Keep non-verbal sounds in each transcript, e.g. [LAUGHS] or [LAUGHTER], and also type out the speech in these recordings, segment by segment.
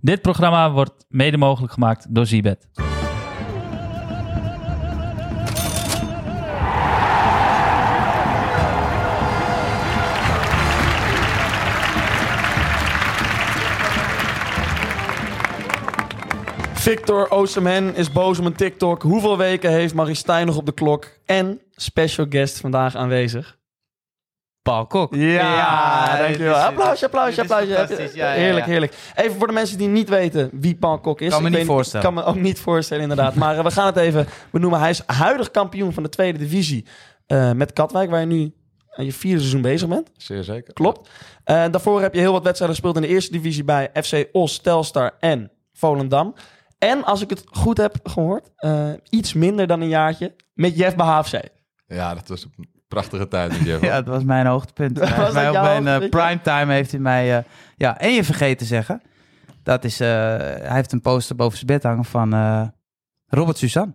Dit programma wordt mede mogelijk gemaakt door Zibet. Victor Oosterman is boos om een TikTok. Hoeveel weken heeft Maristijn nog op de klok? En special guest vandaag aanwezig. Paul Kok. Ja, dankjewel. dit is- applausje, applausje, dit is applausje. fantastisch, ja, ja, ja. heerlijk, heerlijk. Even voor de mensen die niet weten wie Paul Kok is. Kan me Ik niet weet- voorstellen. Kan me ook niet voorstellen, inderdaad. Maar eh, we gaan het even benoemen. Hij is huidig kampioen van de tweede divisie eh, met Katwijk, waar je nu aan je vierde seizoen bezig bent. Zeer zeker. Klopt. Eh, daarvoor heb je heel wat wedstrijden gespeeld in de eerste divisie bij FC Os, Telstar en Volendam. En als ik het goed heb gehoord, eh, iets minder dan een jaartje met Jeff Behaafzee. Ja, dat was een prachtige tijd met [LAUGHS] Jeff. Ja, dat was mijn hoogtepunt. [LAUGHS] Was Hij heeft mij dat op jouw mijn eh, hoogtepunt, ja? primetime heeft hij mij... eh, ja, en je vergeet te zeggen. Dat is... eh, hij heeft een poster boven zijn bed hangen van eh, Robert Suzanne.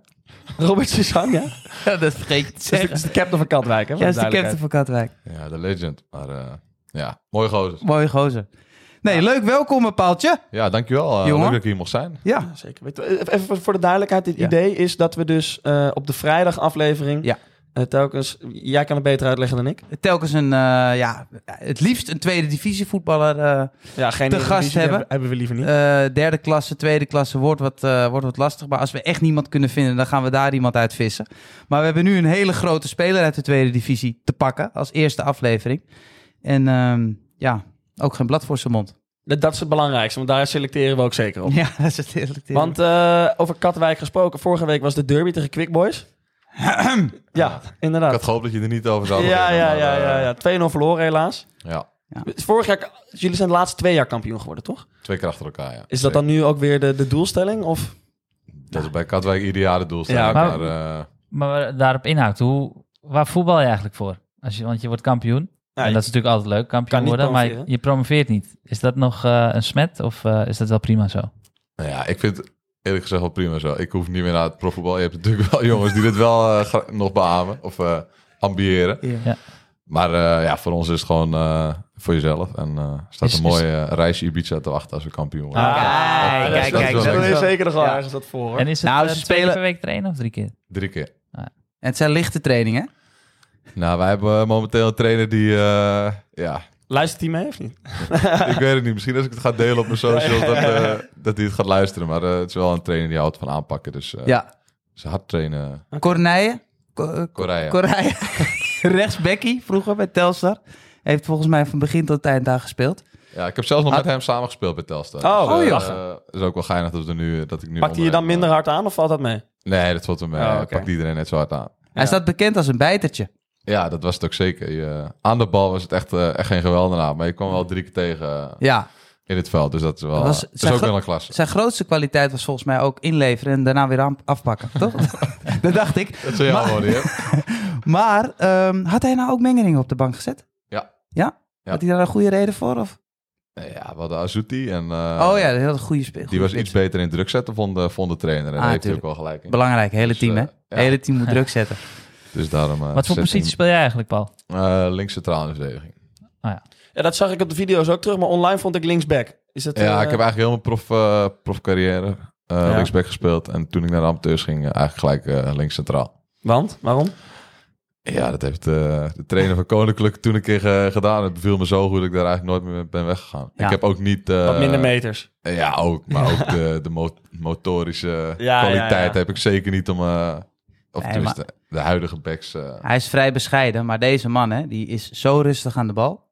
Robert Suzanne, ja? [LAUGHS] Ja, [LAUGHS] dat vergeet je te Dat is de- dat is de captain van Katwijk, hè? voor Ja, is de de captain duidelijkheid. van Katwijk. Ja, de legend. Maar eh, ja, mooi gozer. Mooie gozer. Nee, leuk welkom, eh, Paaltje. Ja, dankjewel. eh, Jongen. leuk dat ik hier mocht zijn. Ja. Ja, Zeker. Weet je, Even voor de duidelijkheid, het Ja. idee is dat we dus eh, op de vrijdagaflevering Ja. eh, telkens... Jij kan het beter uitleggen dan ik. Telkens een, eh, ja, het liefst een tweede divisie voetballer. eh, Ja, geen Te gast Eredivisie hebben. Hebben we liever niet. Eh, derde klasse, tweede klasse wordt wat, eh, wordt wat lastig. Maar als we echt niemand kunnen vinden, dan gaan we daar iemand uit vissen. Maar we hebben nu een hele grote speler uit de tweede divisie te pakken als eerste aflevering. En ehm, ja, ook geen blad voor zijn mond. Dat, dat is het belangrijkste, want daar selecteren we ook zeker op. Ja, [LAUGHS] dat is het eerlijk. Want eh, over Katwijk gesproken, vorige week was de derby tegen Quick [CLEARS THROAT] Boys. ja, Ik inderdaad. had gehoopt dat je er niet over zou Ja, beginnen, ja, maar, ja, eh, ja, ja. 2-0 verloren helaas. ja. Vorig jaar, jullie zijn de laatste twee jaar kampioen geworden, toch? Twee keer achter elkaar, ja. Is dat dan nu ook weer de, de doelstelling? Of? Dat is bij Katwijk ieder jaar de doelstelling. Ja, maar- maar, eh, Maar daarop inhaakt, hoe, waar voetbal je eigenlijk voor? Als je, want je wordt kampioen. Ja, en dat is natuurlijk altijd leuk, kan kampioen niet worden. Maar je, promoveren. je promoveert niet. Is dat nog eh, een smet of eh, is dat wel prima zo? nou ja, ik vind het eerlijk gezegd wel prima zo. Ik hoef niet meer naar het profvoetbal. Je hebt natuurlijk wel [LAUGHS] jongens die dit wel eh, gra- nog beamen of eh, ambiëren. Ja. Maar eh, ja, voor ons is het gewoon eh, voor jezelf. En eh, er staat Is- een mooie eh, reisje Ibiza te wachten als we kampioen worden. Ah, Kijk, dat is- kijk, dat is kijk. zo wel leuk. is is het. zeker nog wel Ja. ergens wat voor. hoor. En is het Nou, eh, ze twee keer spelen- per week trainen of drie keer? Drie keer. En het zijn lichte trainingen. Nou, wij hebben momenteel een trainer die... eh, ja, [LAUGHS] Luistert hij mee of niet? ik weet het niet. Misschien als ik het ga delen op mijn socials, dat, eh, dat hij het gaat luisteren. Maar eh, het is wel een trainer die houdt van aanpakken. Dus eh, Ja. ze hard trainen. Corneille. Co- eh, Korea. [LAUGHS] Corneille. Rechts Becky, vroeger bij Telstar. Heeft volgens mij van begin tot eind daar gespeeld. ja, ik heb zelfs nog Ah. met hem samengespeeld bij Telstar. Oh, Dus, oh, eh, lachen. is ook wel geinig dat, we nu, eh, dat ik nu... Pakt hij je onder dan hem, minder hard aan of valt dat mee? eh, Nee, dat valt hem mee. Oh, Hij oké. Pakt iedereen net zo hard aan. Hij Ja. staat bekend als een bijtertje. Ja, dat was het ook zeker. Je- eh, aan de bal was het echt, eh, echt geen geweldenaar. Maar je kwam wel drie keer tegen eh, Ja, in het veld. Dus dat is wel... Dat was- dat is zijn ook gro- wel een klasse. Zijn grootste kwaliteit was volgens mij ook inleveren en daarna weer aan- afpakken, toch? [LAUGHS] dat dacht ik. Dat zul je Maar- allemaal [LAUGHS] niet hebben. Maar ehm, had hij nou ook mengeringen op de bank gezet? Ja. Ja? Ja. Had hij daar een goede reden voor? Of? Nee, Ja, we hadden Azuti en... eh, oh ja, dat had een goede speel. Die was iets beter in druk zetten, vond de, vond de trainer. En daar heeft hij ook Ah, tuurlijk. wel gelijk in. Belangrijk, hele Dus, team, hè? eh, ja. Hele team moet druk zetten. Dus daarom. Wat eh, voor zet hij positie speel jij eigenlijk, Paul? hem, eh, links centraal in de verdediging. Ja, dat zag ik op de video's ook terug, maar online vond ik linksback. Is dat, Ja, eh, ik heb eigenlijk heel mijn prof, eh, profcarrière eh, linksback gespeeld. En toen ik naar de amateurs ging, eh, eigenlijk gelijk eh, links centraal. Want? Waarom? Eh, Ja, dat heeft eh, de trainer van Koninklijk toen een keer ge- gedaan. Het beviel me zo goed dat ik daar eigenlijk nooit meer ben weggegaan. Ja. Ik heb ook niet... eh, Wat minder meters. Ja, ook. Maar [LAUGHS] ook de, de mo- motorische Ja, kwaliteit ja, ja. heb ik zeker niet om... eh, of Nee, tenminste, de huidige backs... eh, Hij is vrij bescheiden, maar deze man, hè, die is zo rustig aan de bal.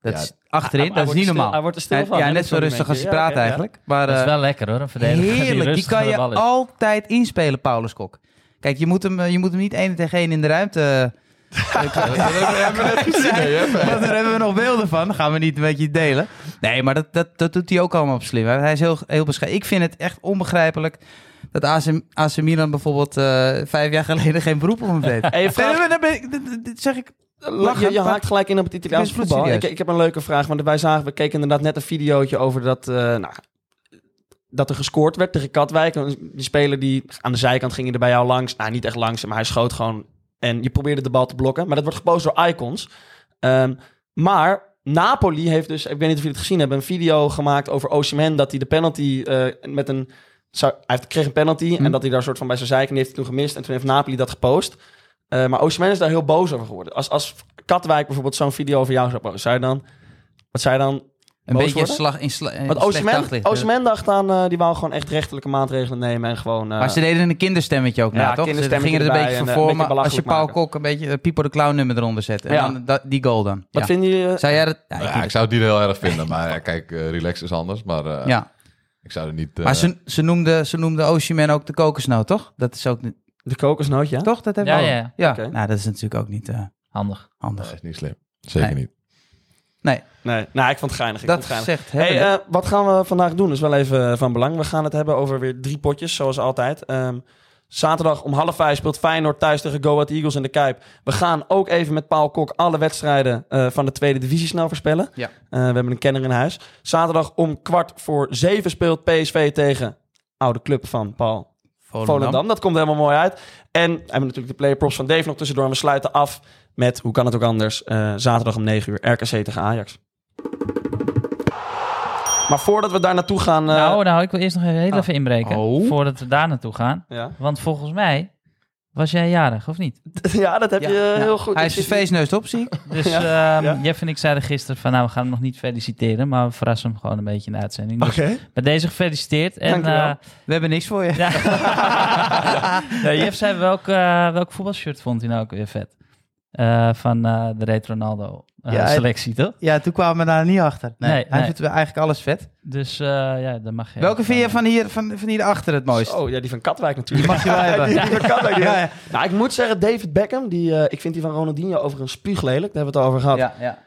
Dat Ja. is achterin, dat is niet normaal. Hij wordt er stil Hij- van. ja, net zo rustig als hij praat eigenlijk. Maar, Dat is eh, wel lekker hoor, een verdediger die Heerlijk, die rustig kan aan de je bal is. altijd inspelen, Paulus Kok. Kijk, je moet hem, eh, je moet hem niet één tegen één in de ruimte... eh, [LAUGHS] dat hebben we net gezien. hè, [LAUGHS] Jeff. Want daar hebben we nog beelden van. Gaan we niet een beetje delen. Nee, maar dat, dat, dat doet hij ook allemaal op slim. hè. Hij is heel, heel bescheiden. Ik vind het echt onbegrijpelijk dat AC, AC Milan bijvoorbeeld eh, vijf jaar geleden geen beroep op hem [LAUGHS] deed. Hey, vraag- Nee, nee, nee, nee, nee, nee, nee, dit zeg ik... Lach, Eh, je, je maar- haakt gelijk in op het Italiaanse Ik ben voetbal. Ik, bloedserieus. ik heb een leuke vraag, want wij zagen, we keken inderdaad net een videootje over dat, eh, nou, dat er gescoord werd tegen Katwijk. Een- Die speler die aan de zijkant ging er bij jou langs. Nou, niet echt langs, maar hij schoot gewoon en je probeerde de bal te blokken. Maar dat wordt gepost door icons. Ehm, maar Napoli heeft dus, ik weet niet of jullie het gezien hebben, een video gemaakt over Osimhen dat hij de penalty eh, met een... Zou, hij heeft- kreeg een Mhm. penalty en dat hij daar soort van bij zijn zeiken en die heeft hij toen gemist. En toen heeft Napoli dat gepost. Eh, maar Osimhen is daar heel boos over geworden. Als, als Katwijk bijvoorbeeld zo'n video over jou zou posten, zou je dan... Wat zei je dan? Een Boos beetje worden? slag in sla, eh, Want slecht Osimhen, daglicht. Osimhen dacht aan, eh, die wou gewoon echt rechtelijke maatregelen nemen en gewoon... eh, Maar ze deden een kinderstemmetje ook Ja, na, toch? Ze kinderstemmetje gingen er een erbij beetje en, voor eh, voor, een maar beetje als je Paul belachelijk Kok een beetje eh, Pipo de Clown nummer eronder zet. En Ja. dan dat- die goal dan. wat Ja. vinden jullie... eh, Zou jij dat... Ja, ik Ja, ik zou het niet heel erg vinden, maar ja, kijk, eh, relax is anders. Maar eh, Ja, ik zou er niet... eh, maar ze, ze noemde, ze noemde Osimhen ook de kokosnoot, toch? Dat is ook niet... De kokosnoot, ja? Toch? Dat hebben Ja, we ook. ja. Oké. nou, dat is natuurlijk ook niet eh, Handig. dat handig. is niet slim. Zeker Nee. niet. Nee, nou, ik vond het geinig. Ik dat vond het geinig. gezegd Hey, hebben. eh, wat gaan we vandaag doen? is wel even eh, van belang. We gaan het hebben over weer drie potjes, zoals altijd. Ehm, zaterdag om half vijf speelt Feyenoord thuis tegen Go Ahead Eagles in de Kuip. We gaan ook even met Paul Kok alle wedstrijden eh, van de tweede divisie snel voorspellen. Ja. Eh, we hebben een kenner in huis. Zaterdag om kwart voor zeven speelt PSV tegen oude club van Paul Volendam. Dat komt helemaal mooi uit. En we hebben natuurlijk de playerprops van Dave nog tussendoor. En we sluiten af met, hoe kan het ook anders, eh, zaterdag om 9 uur RKC tegen Ajax. Maar voordat we daar naartoe gaan... eh, nou, nou, ik wil eerst nog even, heel Ah. even inbreken. Oh. Voordat we daar naartoe gaan. ja. [LAUGHS] Want volgens mij was jij jarig, of niet? ja, dat heb Ja, je eh, ja. heel goed. Hij Ik is zijn zit hier- feestneus op, zie [LAUGHS] ik. Dus Ja, ehm, ja. Jeff en ik zeiden gisteren van... nou, we gaan hem nog niet feliciteren... maar we verrassen hem gewoon een beetje in de uitzending. Dus Oké. bij deze gefeliciteerd. En, Dankjewel. eh, We hebben niks voor je. ja. [LAUGHS] ja, Jeff zei welk, eh, welk voetbalshirt vond hij nou ook weer vet? Eh, van eh, de Red Ronaldo eh, Ja, hij- selectie, toch? [LAUGHS] Ja, toen kwamen we daar niet achter. Nee, Nee, hij nee. vindt eigenlijk alles vet. Dus eh, ja, dat mag je. eh, Welke vind je van hier, van, van hier achter het mooist? Oh, ja, die van Katwijk Die natuurlijk. [LAUGHS] mag je wel Ja, hebben. die, die van Katwijk. ja. [LAUGHS] Ja, ja. Nou, ik moet zeggen, David Beckham, die, eh, ik vind die van Ronaldinho over een spuuglelijk. Daar hebben we het al over gehad. Ja, ja.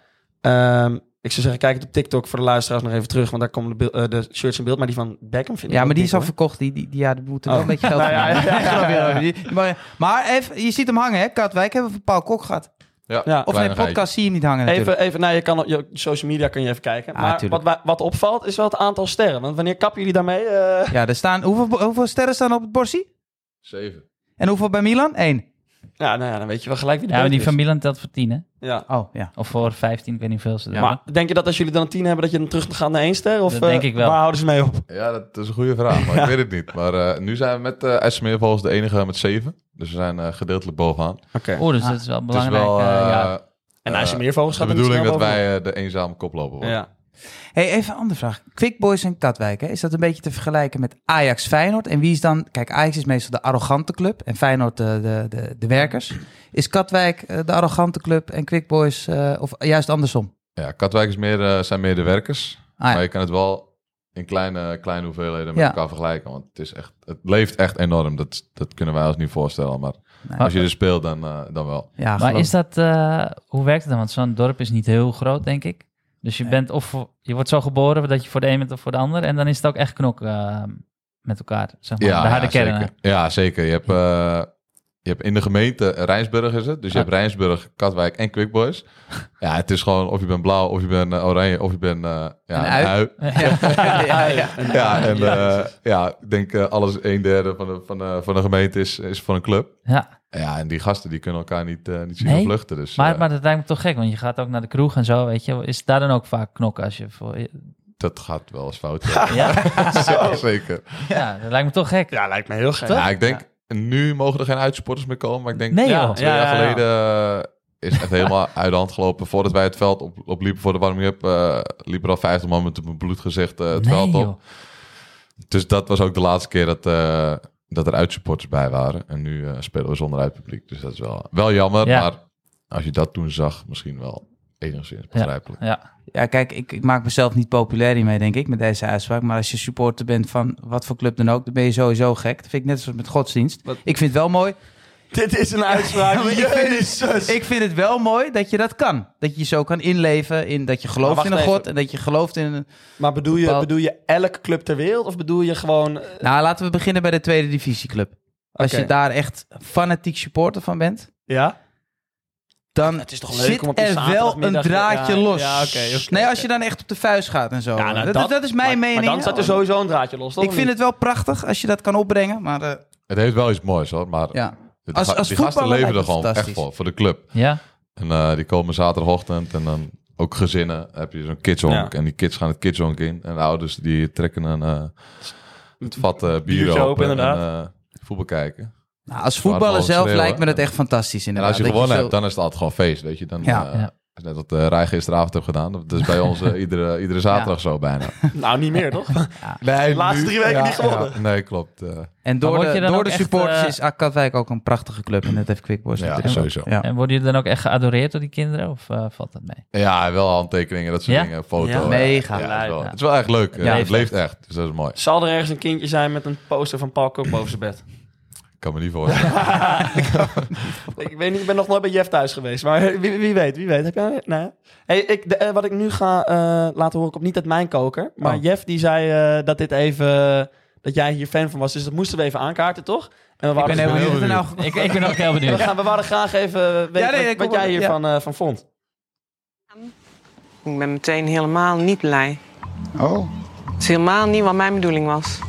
Ehm, ik zou zeggen, kijk het op TikTok voor de luisteraars nog even terug. Want daar komen de, beeld- eh, de shirts in beeld. Maar die van Beckham vind ik Ja, ook maar dik, die is al hoor. verkocht. Die, die, die, ja, daar moeten Oh. wel een beetje geld Nou voor ja, maken. ja, ja, Ik snap je ja, wel. ja. Die- Maar, maar even, je ziet hem hangen, hè, Katwijk. Hebben we van Paul Kok gehad. Ah, Ja, Ja. Of nee, kleinigheidje. podcast zie je hem niet hangen natuurlijk. Even, even nou, je kan op je social media kun je even kijken. Ah, maar tuurlijk. wat, wa- wat opvalt is wel het aantal sterren. Want wanneer kappen jullie daarmee? Eh, Ja, er staan, hoeveel, bo- hoeveel sterren staan op het borstje? Zeven. En hoeveel bij Milan? Eén. ja, nou ja, dan weet je wel gelijk wie de Ja, maar beste die van is. Milan telt voor 10, hè? Ja. Oh, ja. Of voor 15, ik weet niet hoeveel ze er Maar denk je dat als jullie dan een 10 hebben, dat je dan terug gaat naar één ster? Of Dat eh, denk ik wel. waar houden ze mee op? Ja, dat is een goede [LAUGHS] vraag, maar ik weet het niet. Maar eh, nu zijn we met eh IJsselmeer volgens de enige met zeven. Dus we zijn eh, gedeeltelijk bovenaan. Oké. Oeh, dus Ah, dat is wel Het is belangrijk. wel eh, eh, ja. En eh, als je meer vogels de gaat, bedoeling dat dan snel wij eh, de eenzame koploper boven. worden. Ja. Hey, even een andere vraag. Quick Boys en Katwijk, hè? is dat een beetje te vergelijken met Ajax Feyenoord? En wie is dan, kijk, Ajax is meestal de arrogante club en Feyenoord de, de, de, de werkers. Is Katwijk eh, de arrogante club en Quick Boys, eh, of juist andersom? Ja, Katwijk is meer, eh, zijn meer de werkers. Ah, Maar ja. je kan het wel in kleine, kleine hoeveelheden met Ja. elkaar vergelijken. Want het, is echt, het leeft echt enorm. Dat, dat kunnen wij ons niet voorstellen. Maar Nee. als je er speelt, dan, eh, dan wel. ja Maar geloof- is dat, eh, hoe werkt het dan? Want zo'n dorp is niet heel groot, denk ik. Dus je Nee. bent of voor- je wordt zo geboren dat je voor de een bent of voor de ander. En dan is het ook echt knokken eh, met elkaar. Zeg maar, Ja, de harde ja, kernen. Zeker. Ja, zeker. Je hebt, eh, je hebt in de gemeente Rijnsburg is het. Dus je Ah. hebt Rijnsburg, Katwijk en [LAUGHS] Quickboys. Ja, het is gewoon of je bent blauw, of je bent eh, oranje, of je bent eh, ja, Een ui. [LAUGHS] ja, ja, ja. Ja, en eh, ja, ik denk eh, alles een derde van de, van de, van de gemeente is, is van een club. Ja, Ja, en die gasten die kunnen elkaar niet, eh, niet zien Nee. vluchten. Dus, maar, eh, maar dat lijkt me toch gek, want je gaat ook naar de kroeg en zo, weet je. Is daar dan ook vaak knokken als je voor... dat gaat wel eens [LAUGHS] fout. ja. Ja, Ja, zeker. ja dat lijkt me toch gek. ja, lijkt me heel gek. Ja, ik denk, nu mogen er geen uitsporters meer komen. Maar ik denk, Nee Ja, joh. twee ja, jaar ja, ja. geleden eh, is het echt helemaal [LAUGHS] uit de hand gelopen. Voordat wij het veld op, opliepen voor de warming-up, eh liep er al 50 man met een bloedgezicht eh, het nee, veld op. joh. Dus dat was ook de laatste keer dat, eh, dat er uitsupporters bij waren. En nu eh, spelen we zonder uitpubliek. Dus dat is wel, wel jammer. Ja. Maar als je dat toen zag, misschien wel enigszins begrijpelijk. Ja, Ja, kijk, ik, ik maak mezelf niet populair hiermee, denk ik, met deze uitspraak. Maar als je supporter bent van wat voor club dan ook, dan ben je sowieso gek. Dat vind ik net zoals met godsdienst. Wat? Ik vind het wel mooi. Dit is [LAUGHS] een uitspraak. maar ik vind- Ik vind het wel mooi dat je dat kan. Dat je je zo kan inleven in dat je gelooft Maar in een Nou, wacht god even. en dat je gelooft in een... Maar bedoel je, Bepaald- bedoel je elke club ter wereld? Of bedoel je gewoon... eh, Nou, laten we beginnen bij de tweede divisieclub. Als Oké. je daar echt fanatiek supporter van bent, Ja? dan Het is toch leuk zit om op een er wel een zaterdagmiddag- draadje Ja, los. ja, oké, oké, nee, als oké. je dan echt op de vuist gaat en zo. Ja, nou, dat, dat, is mijn maar, mening. Maar dan staat er sowieso een draadje los, toch? Ik vind het wel prachtig als je dat kan opbrengen, maar eh, Het heeft wel iets moois hoor. Maar ja. de Als- ga- als die gasten voetballer leven er lijkt het gewoon echt fantastisch. voor. Voor de club. ja. En eh, die komen zaterdagochtend en dan ook gezinnen heb je zo'n kidshonk. Ja. En die kids gaan het kidshonk in. En de ouders die trekken een eh, het vat eh, bier Biertje open, open, en inderdaad. eh, voetbal kijken. Nou, als voetballer Waarvan zelf schreeuwen. lijkt me dat echt fantastisch En inderdaad. als je Dat gewonnen zo- hebt, dan is het altijd gewoon feest, weet je. Dan, Ja. eh, Ja. is Net wat eh Rij gisteravond heeft gedaan. Dat is bij [LAUGHS] ons eh, iedere, iedere zaterdag zo bijna. Nou, niet meer, toch? Nee, De laatste drie weken niet gewonnen. ja, nee, klopt. eh. En door Maar word de, je dan door ook de echt, supporters eh, is AK Katwijk ook een prachtige club. En dat heeft Quick Boys Ja, natuurlijk. sowieso. Ja. En worden jullie dan ook echt geadoreerd door die kinderen? Of eh, valt dat mee? Ja, wel handtekeningen, dat soort Ja? dingen. Foto. Ja. eh, Mega ja, leuk, het, is wel, ja. het is wel echt leuk. eh, Ja. het leeft echt, dus dat is mooi. Zal er ergens een kindje zijn met een poster van Paul Kok boven zijn [LAUGHS] bed? Ik kan me niet voorstellen. ik weet niet, ik ben nog nooit bij Jeff thuis geweest. Maar wie, wie weet, wie weet. Heb jij... Nee. Hey, ik, de- eh, wat ik nu ga eh, laten horen komt niet uit mijn koker. Maar Oh. Jeff die zei eh, dat dit even... dat jij hier fan van was. Dus dat moesten we even aankaarten, toch? En we Ik waren, dus- ben heel benieuwd wat er benieuwd. nou gekomen Ik, ik ben ook heel we, benieuwd. gaan, we waren graag even weten Ja, nee, wat- ik wat, kom jij op, ja. hiervan eh, van vond. Ik ben meteen helemaal niet blij. Oh, Het is helemaal niet wat mijn bedoeling was.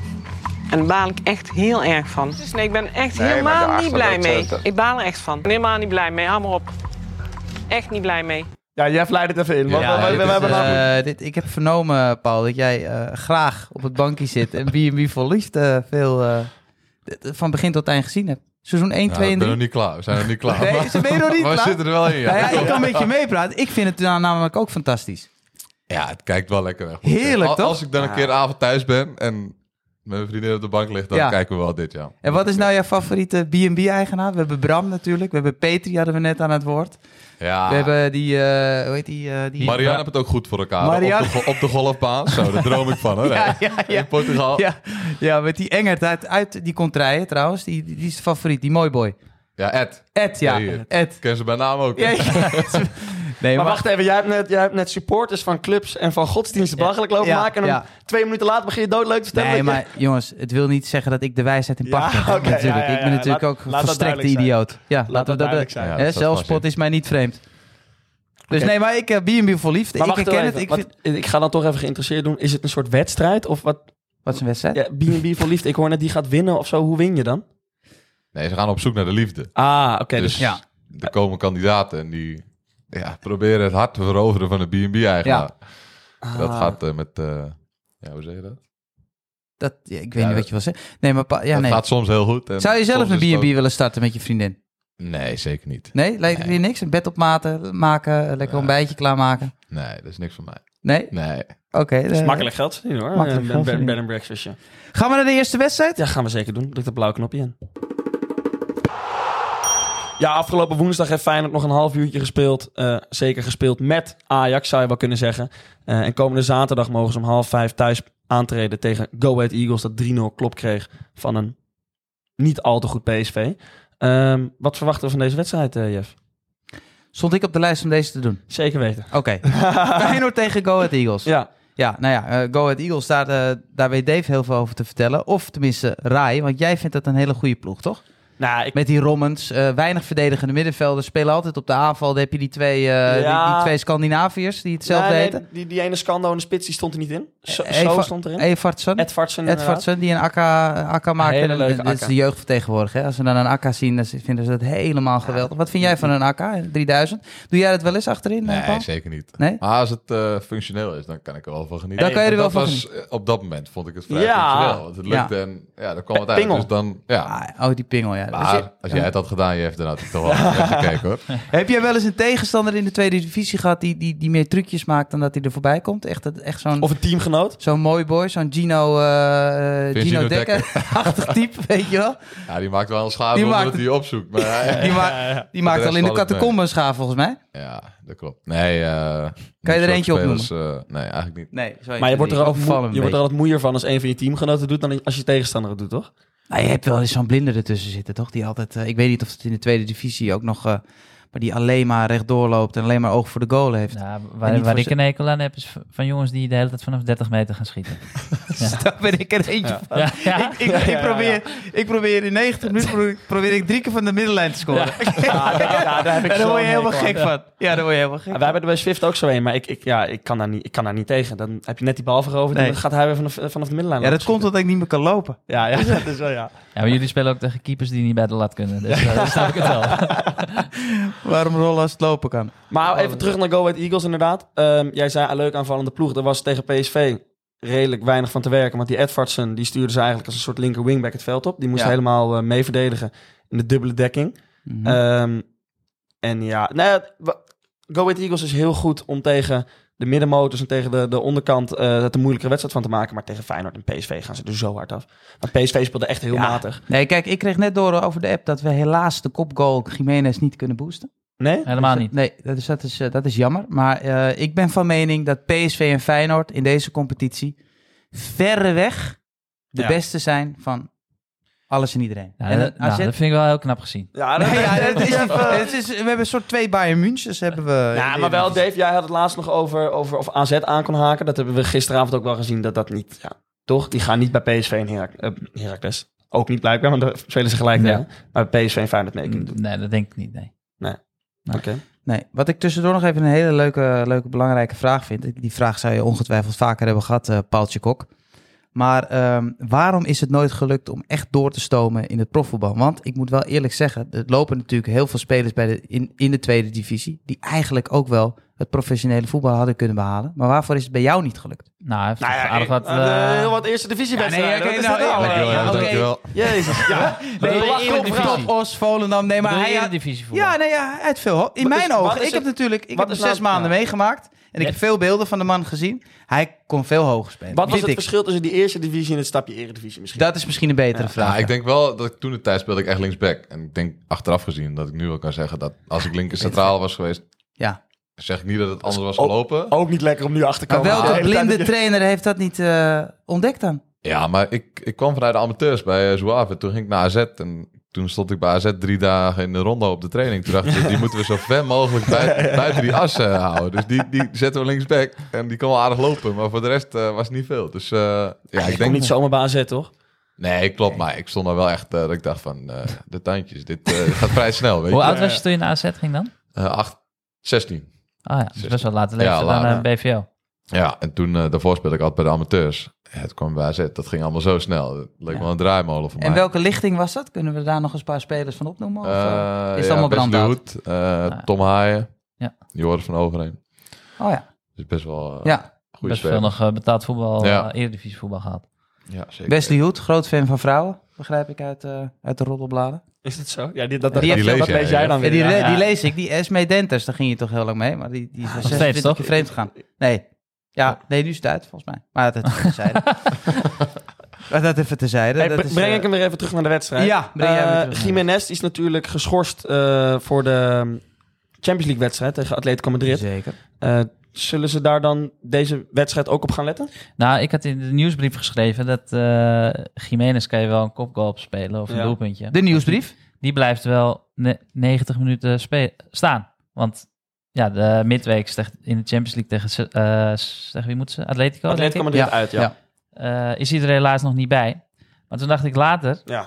En daar baal ik echt heel erg van. Dus nee, ik ben echt Nee, maar helemaal daarachter niet blij dat, mee. eh, dat- Ik baal er echt van. Ik ben helemaal niet blij mee. Hou maar op. Echt niet blij mee. Ja, Jeff leidt het even in. want we- Ja, we, we dit is, hebben nou- eh, namelijk- Eh, dit, ik heb vernomen, Paul, dat jij eh, graag op het bankje zit en B&B voor liefde veel eh, d- d- van begin tot eind gezien hebt. Seizoen 1, Ja, 2 ik en ben 3. nog niet klaar. We zijn nog niet klaar. Nee, [LAUGHS] ze ben je nog niet maar we klaar? zitten er wel in. Ja, Nou ja, ik kan een beetje meepraten. Ik vind het nou namelijk ook fantastisch. Ja, het kijkt wel lekker weg. Heerlijk, Al- toch? Als ik dan een keer een avond thuis ben en mijn vriendin op de bank ligt, dan Ja. kijken we wel dit, ja. En wat is nou jouw favoriete B&B-eigenaar? We hebben Bram natuurlijk. We hebben Petri, hadden we net aan het woord. Ja, We hebben die, eh, hoe heet die? eh, die Marianne heeft het ook goed voor elkaar. Marianne- Op, de, go- op de golfbaan. Zo, daar droom ik van, hoor. [LAUGHS] Ja, ja, ja. In Portugal. Ja. Ja, ja, met die Engert uit, uit die contraien trouwens. Die, die is de favoriet, die mooi boy. Ed. Ed, ja. Ja, ja. Ed. Ken ze bij naam ook. hè? Ja, [LAUGHS] ja. Nee, Maar wacht even, jij hebt, net, jij hebt net supporters van clubs en van godsdiensten belachelijk lopen Ja, maken. En ja. twee minuten later begin je doodleuk te vertellen. Nee, dat je- maar jongens, het wil niet zeggen dat ik de wijsheid in Ja, pacht heb. oké, natuurlijk. ja, ja, Ik ja. ben natuurlijk Laat- ook laat dat verstrekte duidelijk zijn. idioot. Ja, Laat dat duidelijk Ja, zijn. dat hè, is wel zelfspot vast in. is mij niet vreemd. Dus nee, maar ik heb B&B voor liefde. Maar ik wacht herken even, het. Ik want vind... ik ga dan toch even geïnteresseerd doen. Is het een soort wedstrijd? Of wat? Wat is een wedstrijd? Ja, B&B voor liefde. Ik hoor net die gaat winnen of zo. Hoe win je dan? Nee, ze gaan op zoek naar de liefde. Ah, oké. dus, dus ja. er komen kandidaten en die ja, proberen het hart te veroveren van de B&B-eigenaar. Dat Ah. gaat eh, met... eh, ja, hoe zeg je dat? Dat, ja, ik weet Ja, niet wat je wil zeggen. Nee, maar pa- ja, dat nee. gaat soms heel goed. en Zou je zelf soms een is het B&B ook- willen starten met je vriendin? Nee, zeker niet. Nee? Lijkt het je niks? Een bed op maten maken, eh, lekker ontbijtje klaarmaken? Nee, dat is niks van mij. Nee? Nee. Oké. Dat is eh, makkelijk geld verdienen hoor. Makkelijk Een geld bed- bed verdienen. and breakfastje. Gaan we naar de eerste wedstrijd? Ja, gaan we zeker doen. Druk dat blauwe knopje in. Ja, afgelopen woensdag heeft Feyenoord nog een half uurtje gespeeld. Eh, zeker gespeeld met Ajax, zou je wel kunnen zeggen. Eh, en komende zaterdag mogen ze om half vijf thuis aantreden tegen Go Ahead Eagles... dat 3-0 klop kreeg van een niet al te goed PSV. Ehm, wat verwachten we van deze wedstrijd, eh, Jeff? Stond ik op de lijst om deze te doen? Zeker weten. Oké. [LAUGHS] Feyenoord tegen Go Ahead Eagles. Ja, Ja, nou ja, eh, Go Ahead Eagles, daar, eh, daar weet Dave heel veel over te vertellen. Of tenminste, Rai, want jij vindt dat een hele goede ploeg, toch? nou, ik, Met die Rommens, eh, weinig verdedigende middenvelders, spelen altijd op de aanval. Dan heb je die twee, eh, Ja. die, die twee Scandinaviërs die hetzelfde Nee, nee, heten. die, die ene Scando en de spits die stond er niet in. Zo, Eh, Eva- zo stond erin. Edvardsen. Edvardsen inderdaad. Edvardsen, die een akka, akka maakt. Hele En leuke dit akka. is de jeugd van tegenwoordig. Hè? Als ze dan een akka zien, dan vinden ze dat helemaal geweldig. Wat vind jij van een akka, 3000? Doe jij dat wel eens achterin, eh, Paul? Nee, zeker niet. Nee? Maar als het eh, functioneel is, dan kan ik er wel van genieten. Dan kan je er wel Dat van was, eh, Op dat moment vond ik het vrij Ja. functioneel. Want het lukte en ja, dan kwam het uit. Pingel. Dus dan, ja. Ah, oh, die pingel, ja. Dus je- Maar als jij het had gedaan, je hebt dan had ik [LAUGHS] toch wel weggekeken hoor. Heb jij wel eens een tegenstander in de tweede divisie gehad die, die, die meer trucjes maakt dan dat hij er voorbij komt? Echt, dat- echt zo'n Of een teamgenoot. zo'n mooi boy, zo'n Gino, eh, eh, Vind Gino Gino [LAUGHS] Dekker-achtig type, weet je wel? Ja, die maakt wel een schade Die omdat maakt- hij [LAUGHS] opzoekt. Maar ja, Die, ma- die maakt rest al in de valt het eh, mee. catacombe een schaaf volgens mij. ja, dat klopt. Nee, eh Kan je er zulke eentje opnoemen? spelers, eh, nee, eigenlijk niet. Nee, zo Maar je wordt er, ook ook moe- je wordt er altijd moeier van als een van je teamgenoten doet dan als je tegenstander het doet, toch? Nou, je hebt wel eens zo'n blinde ertussen zitten, toch? Die altijd, eh, ik weet niet of het in de tweede divisie ook nog, eh, maar die alleen maar rechtdoor loopt en alleen maar oog voor de goal heeft. [LAUGHS] Nou, En waar niet waar voor ik een hekel aan heb, is v- van jongens die de hele tijd vanaf 30 meter gaan schieten. Dus Daar ben ik er eentje van. Ja, ja. Ik, ik, ik, probeer, ik probeer in 90 minuten probeer, probeer ik drie keer van de middenlijn te scoren. [LAUGHS] Ja, daar heb En daar word je helemaal gek. gek van. Ja, daar word je helemaal Ah, gek Wij hebben er bij Swift ook zo een, maar ik, ik, ja, ik, kan daar niet, ik kan daar niet tegen. Dan heb je net die bal veroverd Nee. en dan gaat hij weer vanaf, eh, vanaf de middenlijn. Ja, dat lopen komt omdat ik niet meer kan lopen. schieten. Ja, [LAUGHS] ja, dat is wel ja. dus, Ja, maar jullie spelen ook tegen keepers die niet bij de lat kunnen. Dus eh, daar snap ik het wel. Waarom rollen als het lopen kan. Maar even terug naar Go Ahead Eagles inderdaad. Ehm, jij zei een leuk aanvallende ploeg. Er was tegen PSV redelijk weinig van te werken. Want die Edvardsen die stuurde ze eigenlijk als een soort linker wingback het veld op. Die moest Ja. helemaal eh, mee verdedigen in de dubbele dekking. Mhm. Eh, Ehm, en ja, nou ja, wa- Go Ahead Eagles is heel goed om tegen de middenmotors en tegen de, de onderkant eh het een moeilijkere wedstrijd van te maken. Maar tegen Feyenoord en PSV gaan ze er zo hard af. Maar PSV speelde echt heel Ja. matig. Nee, kijk, ik kreeg net door over de app dat we helaas de kopgoal Jiménez niet kunnen boosten. Nee? Helemaal niet. Nee, dat is, dat is, eh, dat is jammer. Maar eh, ik ben van mening dat PSV en Feyenoord in deze competitie verreweg de Ja. beste zijn van alles en iedereen. Ja, en eh, dat, een AZ nou, dat vind ik wel heel knap gezien. [LAUGHS] Ja, dat- Nee, [LAUGHS] ja, het is, het is, we hebben een soort twee Bayern Münchens hebben we. Ja, maar wel, Dave, jij had het laatst nog over, over of AZ aan kon haken. Dat hebben we gisteravond ook wel gezien, dat dat niet... Ja, toch? Die gaan niet bij PSV en Herak- eh, Heracles. ook niet blijkbaar, want daar spelen ze gelijk Nee. tegen. Maar bij PSV en Feyenoord mee Mm. kunnen doen. Mm, Nee, dat denk ik niet. Nee. Oké. Nee, wat ik tussendoor nog even een hele leuke, leuke belangrijke vraag vind. Die vraag zou je ongetwijfeld vaker hebben gehad, eh Paaltje Kok. Maar ehm, waarom is het nooit gelukt om echt door te stomen in het profvoetbal? Want ik moet wel eerlijk zeggen, er lopen natuurlijk heel veel spelers bij de, in, in de tweede divisie... die eigenlijk ook wel het professionele voetbal hadden kunnen behalen. Maar waarvoor is het bij jou niet gelukt? Nou, hij heeft Nou ja, aardig eh, wat... eh, eh, heel wat eerste divisiewedstrijden. Ja, nee, oké, Wat is nou, dat ja, nou? ja, Dankjewel, oké. dankjewel. Jezus. Ja. belachelijk verhaal. Top Os, Volendam, nee, maar maar hij hij had, divisie voor. Ja, nee, ja, hij had veel. ho- In Wat is- wat mijn ogen, is ik heb het- natuurlijk ik wat heb hem is nou- zes maanden ja. meegemaakt. En ik heb veel beelden van de man gezien. Hij kon veel hoger spelen. Wat was vind het ik. verschil tussen die eerste divisie en het stapje eredivisie misschien? Dat is misschien een betere vraag. Ja, Ah, ik denk wel dat ik toen de tijd speelde ik echt linksback. En ik denk achteraf gezien dat ik nu wel kan zeggen dat als ik linker centraal was geweest, Ja. zeg ik niet dat het anders was ook- gelopen. Ook niet lekker om nu achter te Maar komen. welke Ah, blinde dat- trainer heeft dat niet eh, ontdekt dan? Ja, maar ik, ik kwam vanuit de amateurs bij eh, Zouave. Toen ging ik naar AZ en toen stond ik bij AZ drie dagen in de ronde op de training. Toen dacht ik, die moeten we zo ver mogelijk buiten, buiten die assen houden. Dus die, die zetten we linksback en die kon wel aardig lopen. Maar voor de rest eh, was het niet veel. Dus eh, ja, Je ik komt denk... niet zomaar bij AZ, toch? Nee, klopt. Maar ik stond daar wel echt eh, dat ik dacht van, eh, de tandjes, dit eh, gaat vrij snel, weet Hoe je. oud was je toen je naar AZ ging dan? Eh, acht, 16. Ah ja, dat is best wel later Ja, leeftijd dan later. eh, BVO. Ja, en toen eh, daarvoor speelde ik altijd bij de amateurs. Ja, Het kwam bij AZ. Dat ging allemaal zo snel. Het leek Ja. wel een draaimolen voor En mij. welke lichting was dat? Kunnen we daar nog eens een paar spelers van opnoemen? Of, eh? Eh, is het allemaal Wesley brandhout? Hoed, eh, Tom Haaien. Ja. Die hoorde van overheen. oh ja. Dus best wel eh ja. goede Best speler. veel nog eh, betaald voetbal, Ja. eh, eredivisie voetbal gehad. Ja, zeker. Wesley Hoed, groot fan van vrouwen. Begrijp ik uit, eh, uit de roddelbladen. Is dat zo? Ja, die, dat, Die dat- heeft- dat die lees lees jij, jij dan Ja, weer. die, ja. le- ja. die lees ik. Die Esme Denters, daar ging je toch heel lang mee. Maar die, die is wel steeds, 26 keer toch? vreemd gegaan. Nee. Ja, nee, nu is het uit, volgens mij. Maar dat even terzijde. maar dat even terzijde. Hey, dat bre- is, breng eh, ik hem weer even terug naar de wedstrijd. Ja, breng jij hem weer Eh, terug. Jiménez is natuurlijk geschorst eh, voor de Champions League wedstrijd tegen Atletico Madrid. Zeker. Eh, zullen ze daar dan deze wedstrijd ook op gaan letten? Nou, ik had in de nieuwsbrief geschreven dat eh Jiménez kan je wel een kopgoal op spelen of een Ja. doelpuntje. De nieuwsbrief. Die blijft wel ne- 90 minuten spe- staan. Want ja, de midweek tegen- in de Champions League tegen, Se- eh, tegen wie moeten ze? Atletico? denk Atletico ik. Madrid Ja, uit, ja. ja. ja. Eh, is hij er helaas nog niet bij. Maar toen dacht ik later, eh,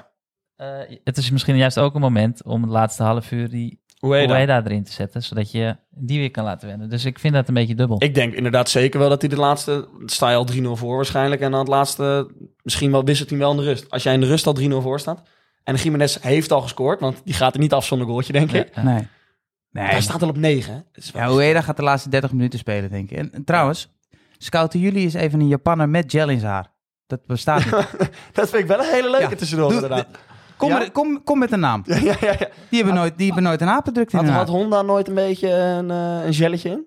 het is misschien juist ook een moment om het laatste half uur die Hoe heet dat? Ueda erin te zetten, zodat je die weer kan laten wennen. Dus ik vind dat een beetje dubbel. Ik denk inderdaad zeker wel dat hij de laatste... Sta je al 3-0 voor waarschijnlijk. En dan het laatste... Misschien wel wisselt hij wel in de rust. Als jij in de rust al 3-0 voor staat... En Jiménez heeft al gescoord, want die gaat er niet af zonder goaltje, denk ik. eh. Nee. Hij Nee. staat al op 9. Is wel- Ja, Ueda gaat de laatste 30 minuten spelen, denk ik. En, en trouwens, scouten jullie is even een Japanner met gel in zijn haar. Dat bestaat niet. [LAUGHS] [LAUGHS] Dat vind ik wel een hele leuke Ja. tussendoor, Doe- inderdaad. Kom, Ja? er- kom, kom met een naam. [LAUGHS] Ja, ja, ja, ja. Die hebben nooit, die hebben nooit een aapendruk in Had, hun haar. had Honda nooit een beetje een, eh, een gelletje in?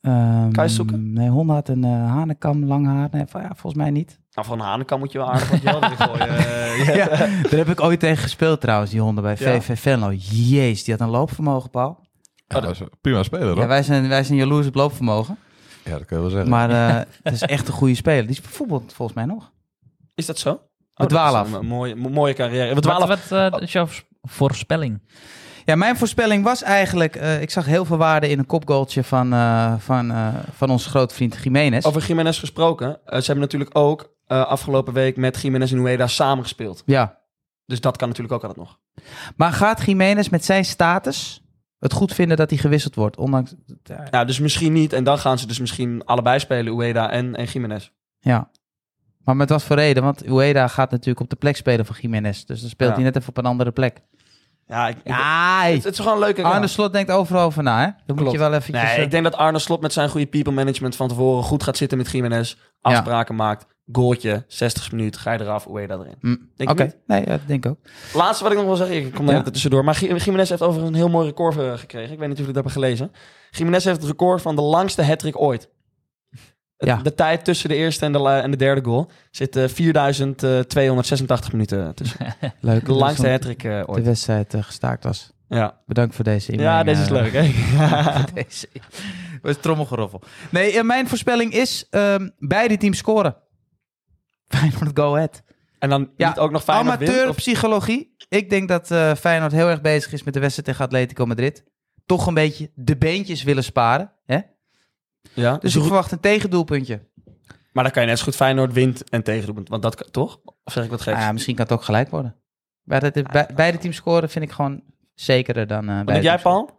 Ehm, Kan je zoeken? Nee, Honda had een eh, hanenkam, lang haar. Nee, van- ja, volgens mij niet. Nou, van Hanekam moet je wel aardig wat gel erin [LAUGHS] gooien. eh, ja. Ja, daar heb ik ooit tegen gespeeld trouwens, die honden bij Ja. VV Venlo. Jeez, die had een loopvermogen, Paul. Ja, dat is prima speler, hoor. Ja, Ja, wij, zijn, wij zijn jaloers op loopvermogen. dat kun je wel zeggen. Maar eh het is echt een goede speler. Die is bijvoorbeeld volgens mij nog. Is dat zo? Oh, We dat is dwalen af. een Mooie, mo- mooie carrière. We wat dwalen af. wat eh, is jouw vo- voorspelling? Ja, mijn voorspelling was eigenlijk... eh, ik zag heel veel waarde in een kopgoaltje van, eh, van, eh, van onze grote vriend Jiménez. Over Jiménez gesproken. eh, ze hebben natuurlijk ook eh, afgelopen week met Jiménez en Ueda samengespeeld. Ja, Dus dat kan natuurlijk ook altijd nog. maar gaat Jiménez met zijn status het goed vinden dat hij gewisseld wordt? Ondanks... Nou, dus misschien niet. En dan gaan ze dus misschien allebei spelen, Ueda en, en Jiménez. Ja. Maar met wat voor reden? Want Ueda gaat natuurlijk op de plek spelen van Jiménez. Dus dan speelt Ja. hij net even op een andere plek. Ja, ik, ik- Ja, het, het is gewoon een leuke Arne kant. Slot denkt overal over na, hè? Dat moet Klopt. je wel eh, even... Nee, ik denk dat Arne Slot met zijn goede people management van tevoren goed gaat zitten met Jiménez. Afspraken maakt, goaltje, 60 minuten, ga je eraf, hoe je dat erin. Denk je Mm, Oké, niet? nee, ja, dat denk ik ook. Laatste wat ik nog wil zeggen, ik kom daar Ja. even tussendoor. Maar Gi- Jiménez heeft overigens een heel mooi record eh, gekregen. Ik weet niet of jullie dat hebben gelezen. Jiménez heeft het record van de langste hattrick ooit. Het- Ja. De tijd tussen de eerste en de, la- en de derde goal zit eh, 4286 minuten tussen. Leuk. De langste dat hattrick eh, De ooit. wedstrijd eh, gestaakt was. Ja, Bedankt voor deze inbreng. ja deze is eh, [LAUGHS] leuk. [LAUGHS] Hè? Deze. was trommelgeroffel. Nee, eh, mijn voorspelling is ehm, beide teams scoren. [LAUGHS] Feyenoord Go Ahead. en dan Ja, niet ook nog Feyenoord wint, of- Amateurpsychologie. Ik denk dat eh, Feyenoord heel erg bezig is met de wedstrijd tegen Atletico Madrid. Toch een beetje de beentjes willen sparen. Hè? Ja, Dus ik verwacht een tegendoelpuntje. Maar dan kan je net zo goed Feyenoord wint en tegendoelpunt. Want dat kan- toch? Of zeg ik wat geks? Ah, ja, misschien kan het ook gelijk worden. Beide, de- be- beide teams scoren vind ik gewoon zekerder dan... eh wat denk beide jij, teams scoren.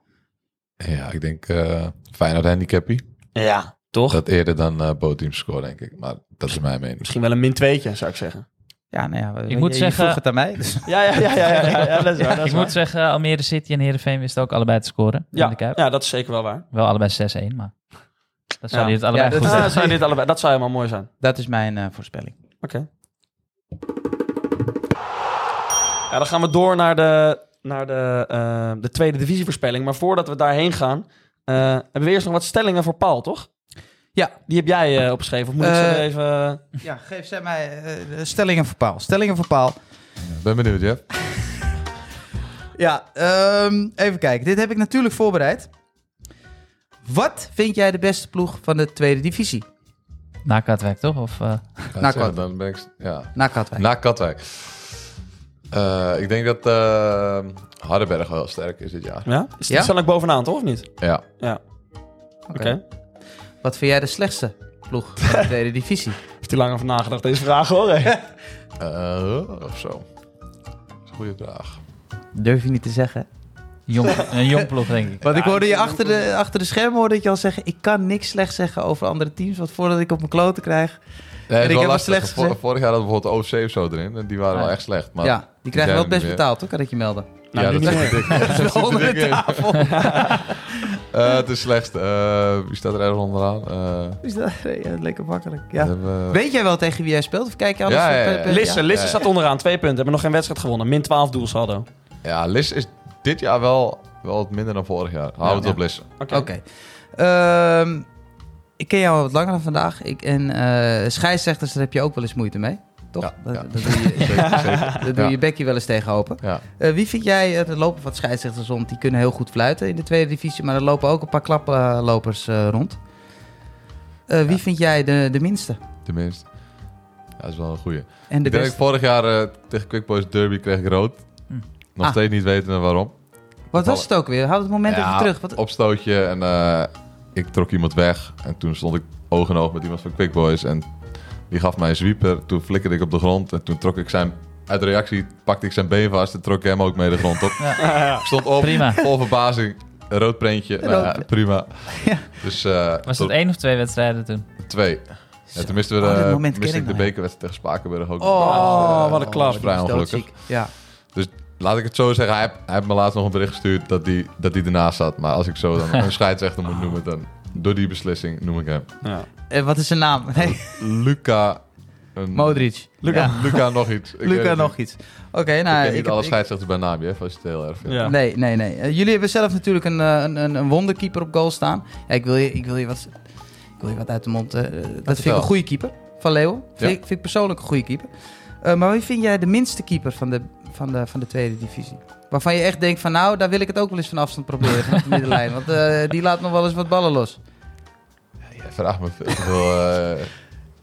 Paul? Ja, ik denk eh Feyenoord handicappie. Ja, toch? Dat eerder dan eh Bootteams score, denk ik. Maar dat is mijn mening. Misschien wel een min tweetje, zou ik zeggen. Ja, nou ja, Ik moet je, zeggen- Je vroeg het aan mij. dus- [LAUGHS] Ja, ja, ja, ja, ja, ja, ja, dat is waar. dat Ik is waar. moet zeggen, Almere City en Heerenveen wisten ook allebei te scoren in de ja, Kuip. ja, dat is zeker wel waar. Wel allebei 6-1, maar dat zouden Ja. jullie het allebei Ja, dat goed Ah, hebben. dat, zou dit allebei, dat zou helemaal mooi zijn. Dat is mijn eh, voorspelling. Oké. Ja, dan gaan we door naar de, naar de, eh, de tweede divisievoorspelling. Maar voordat we daarheen gaan, eh, hebben we eerst nog wat stellingen voor Paul, toch? Ja. Die heb jij eh, opgeschreven. Of moet ik ze Eh, er even... Ja, geef zij mij eh, stellingen voor Paal. Stellingen voor Paal. Ben benieuwd, Jeff. Ja, ehm, even kijken. Dit heb ik natuurlijk voorbereid. Wat vind jij de beste ploeg van de tweede divisie? Na Katwijk, toch? Of, eh, [LAUGHS] Ja, Na zeg, Katwijk. Dan ben ik, ja. Na Katwijk. Na Katwijk. Eh, ik denk dat eh Hardenberg wel sterk is dit jaar. Ja? Is Ja? ja? Stel ik bovenaan, toch? Of niet? Oké. Ja. Nou, Oké. Wat vind jij de slechtste ploeg van [LAUGHS] de tweede divisie? Heeft hij lang over nagedacht, deze vraag, hoor. [LAUGHS] Nou, hè? Eh, of zo. Dat is een goede vraag. Durf je niet te zeggen. jong, een jong ploeg, denk ik. Want ik hoorde je achter de, achter de schermen hoorde ik je al zeggen... ik kan niks slechts zeggen over andere teams... want voordat ik op mijn kloten krijg... Nee, ik ik heb heb wel lastig. slechts Vor- gezegd- vorig jaar hadden we bijvoorbeeld OC of zo erin. En die waren wel echt slecht. Maar ja, die krijgen wel zijn er best weer. betaald, hoor, kan ik je melden. Nou, nu [LAUGHS] dat niet [LAUGHS] is meer. dik. Dat is wel onder de tafel. [LAUGHS] Eh, Het is slecht. Eh, wie staat er ergens onderaan? Eh, Dus dat- ja, lekker makkelijk. dat Ja. hebben we- Weet jij wel tegen wie jij speelt? Of kijk je anders? Ja, ja, ja. per- per- Lisse, Lisse Ja. staat onderaan, twee punten. Hebben nog geen wedstrijd gewonnen. Min 12 doelsaldo. Oké. Ja, Lis is dit jaar wel, wel wat minder dan vorig jaar. Hou het op Lis. Oké. Ehm, ik ken jou al wat langer dan vandaag. Ik, en eh scheidsrechters, daar heb je ook wel eens moeite mee. Toch? Ja, dat, ja. dat doe je, [LAUGHS] Zeker, zeker. dat doe Ja. je bekje wel eens tegen open. Ja. Eh, wie vind jij, eh, er lopen wat scheidsrechters rond, die kunnen heel goed fluiten in de tweede divisie, maar er lopen ook een paar klaplopers eh, rond. Eh, wie vind jij de, de minste Tenminste. Ja, dat is wel een goeie. en de ik denk dat beste? ik vorig jaar eh, tegen Quick Boys Derby kreeg ik rood. Hm. Nog Ah. steeds niet weten waarom. Wat was het ook weer? Houd het moment Ja, Oh, even terug. Wat, Opstootje en eh, ik trok iemand weg. En toen stond ik oog in oog met iemand van Quick Boys. En die gaf mij een zwieper. Toen flikkerde ik op de grond. En toen trok ik zijn... Uit de reactie pakte ik zijn been vast en trok ik hem ook mee de grond op. [LAUGHS] Ik stond op, Prima. vol verbazing. Een rood prentje. Nou ja, Rood. prima. [LAUGHS] Ja. Dus eh, Was tot dat één of twee wedstrijden toen? twee. Ja, toen misten we Oh, dat de, moment miste ken ik ik de nog, ja. bekerwedstrijd tegen Spakenburg ook. Oh, eh, wat een klap. was vrij die is ongelukkig. doodziek. Ja. Laat ik het zo zeggen, hij, heeft- hij heeft me laatst nog een bericht gestuurd dat hij dat die ernaast zat. Maar als ik zo dan [LAUGHS] een scheidsrechter moet noemen, dan door die beslissing noem ik hem. Ja. Eh, wat is zijn naam? [LAUGHS] Nee, Luca... Een, Modric. Luca, Ja. Luca nog iets. Ik weet Luca het nog niet. iets. Oké, nou... ik ken niet heb- alle scheidsrechters bij naam, Jeff, als je het heel erg vindt. Ja. Nee, nee, nee. Eh, jullie hebben zelf natuurlijk een, eh, een, een, een wonderkeeper op goal staan. Ja, ik, wil je, ik, wil je wat, ik wil je wat uit de mond. eh, dat vind ik vertel. een goede keeper van Leeuwen. Vind, Ja. ik, vind ik persoonlijk een goede keeper. Eh, maar wie vind jij de minste keeper van de, van, de, van de tweede divisie? Waarvan je echt denkt van nou, daar wil ik het ook wel eens van afstand proberen. Vanaf de middenlijn. Want eh, die laat nog wel eens wat ballen los. Jij vraagt me veel te veel... eh,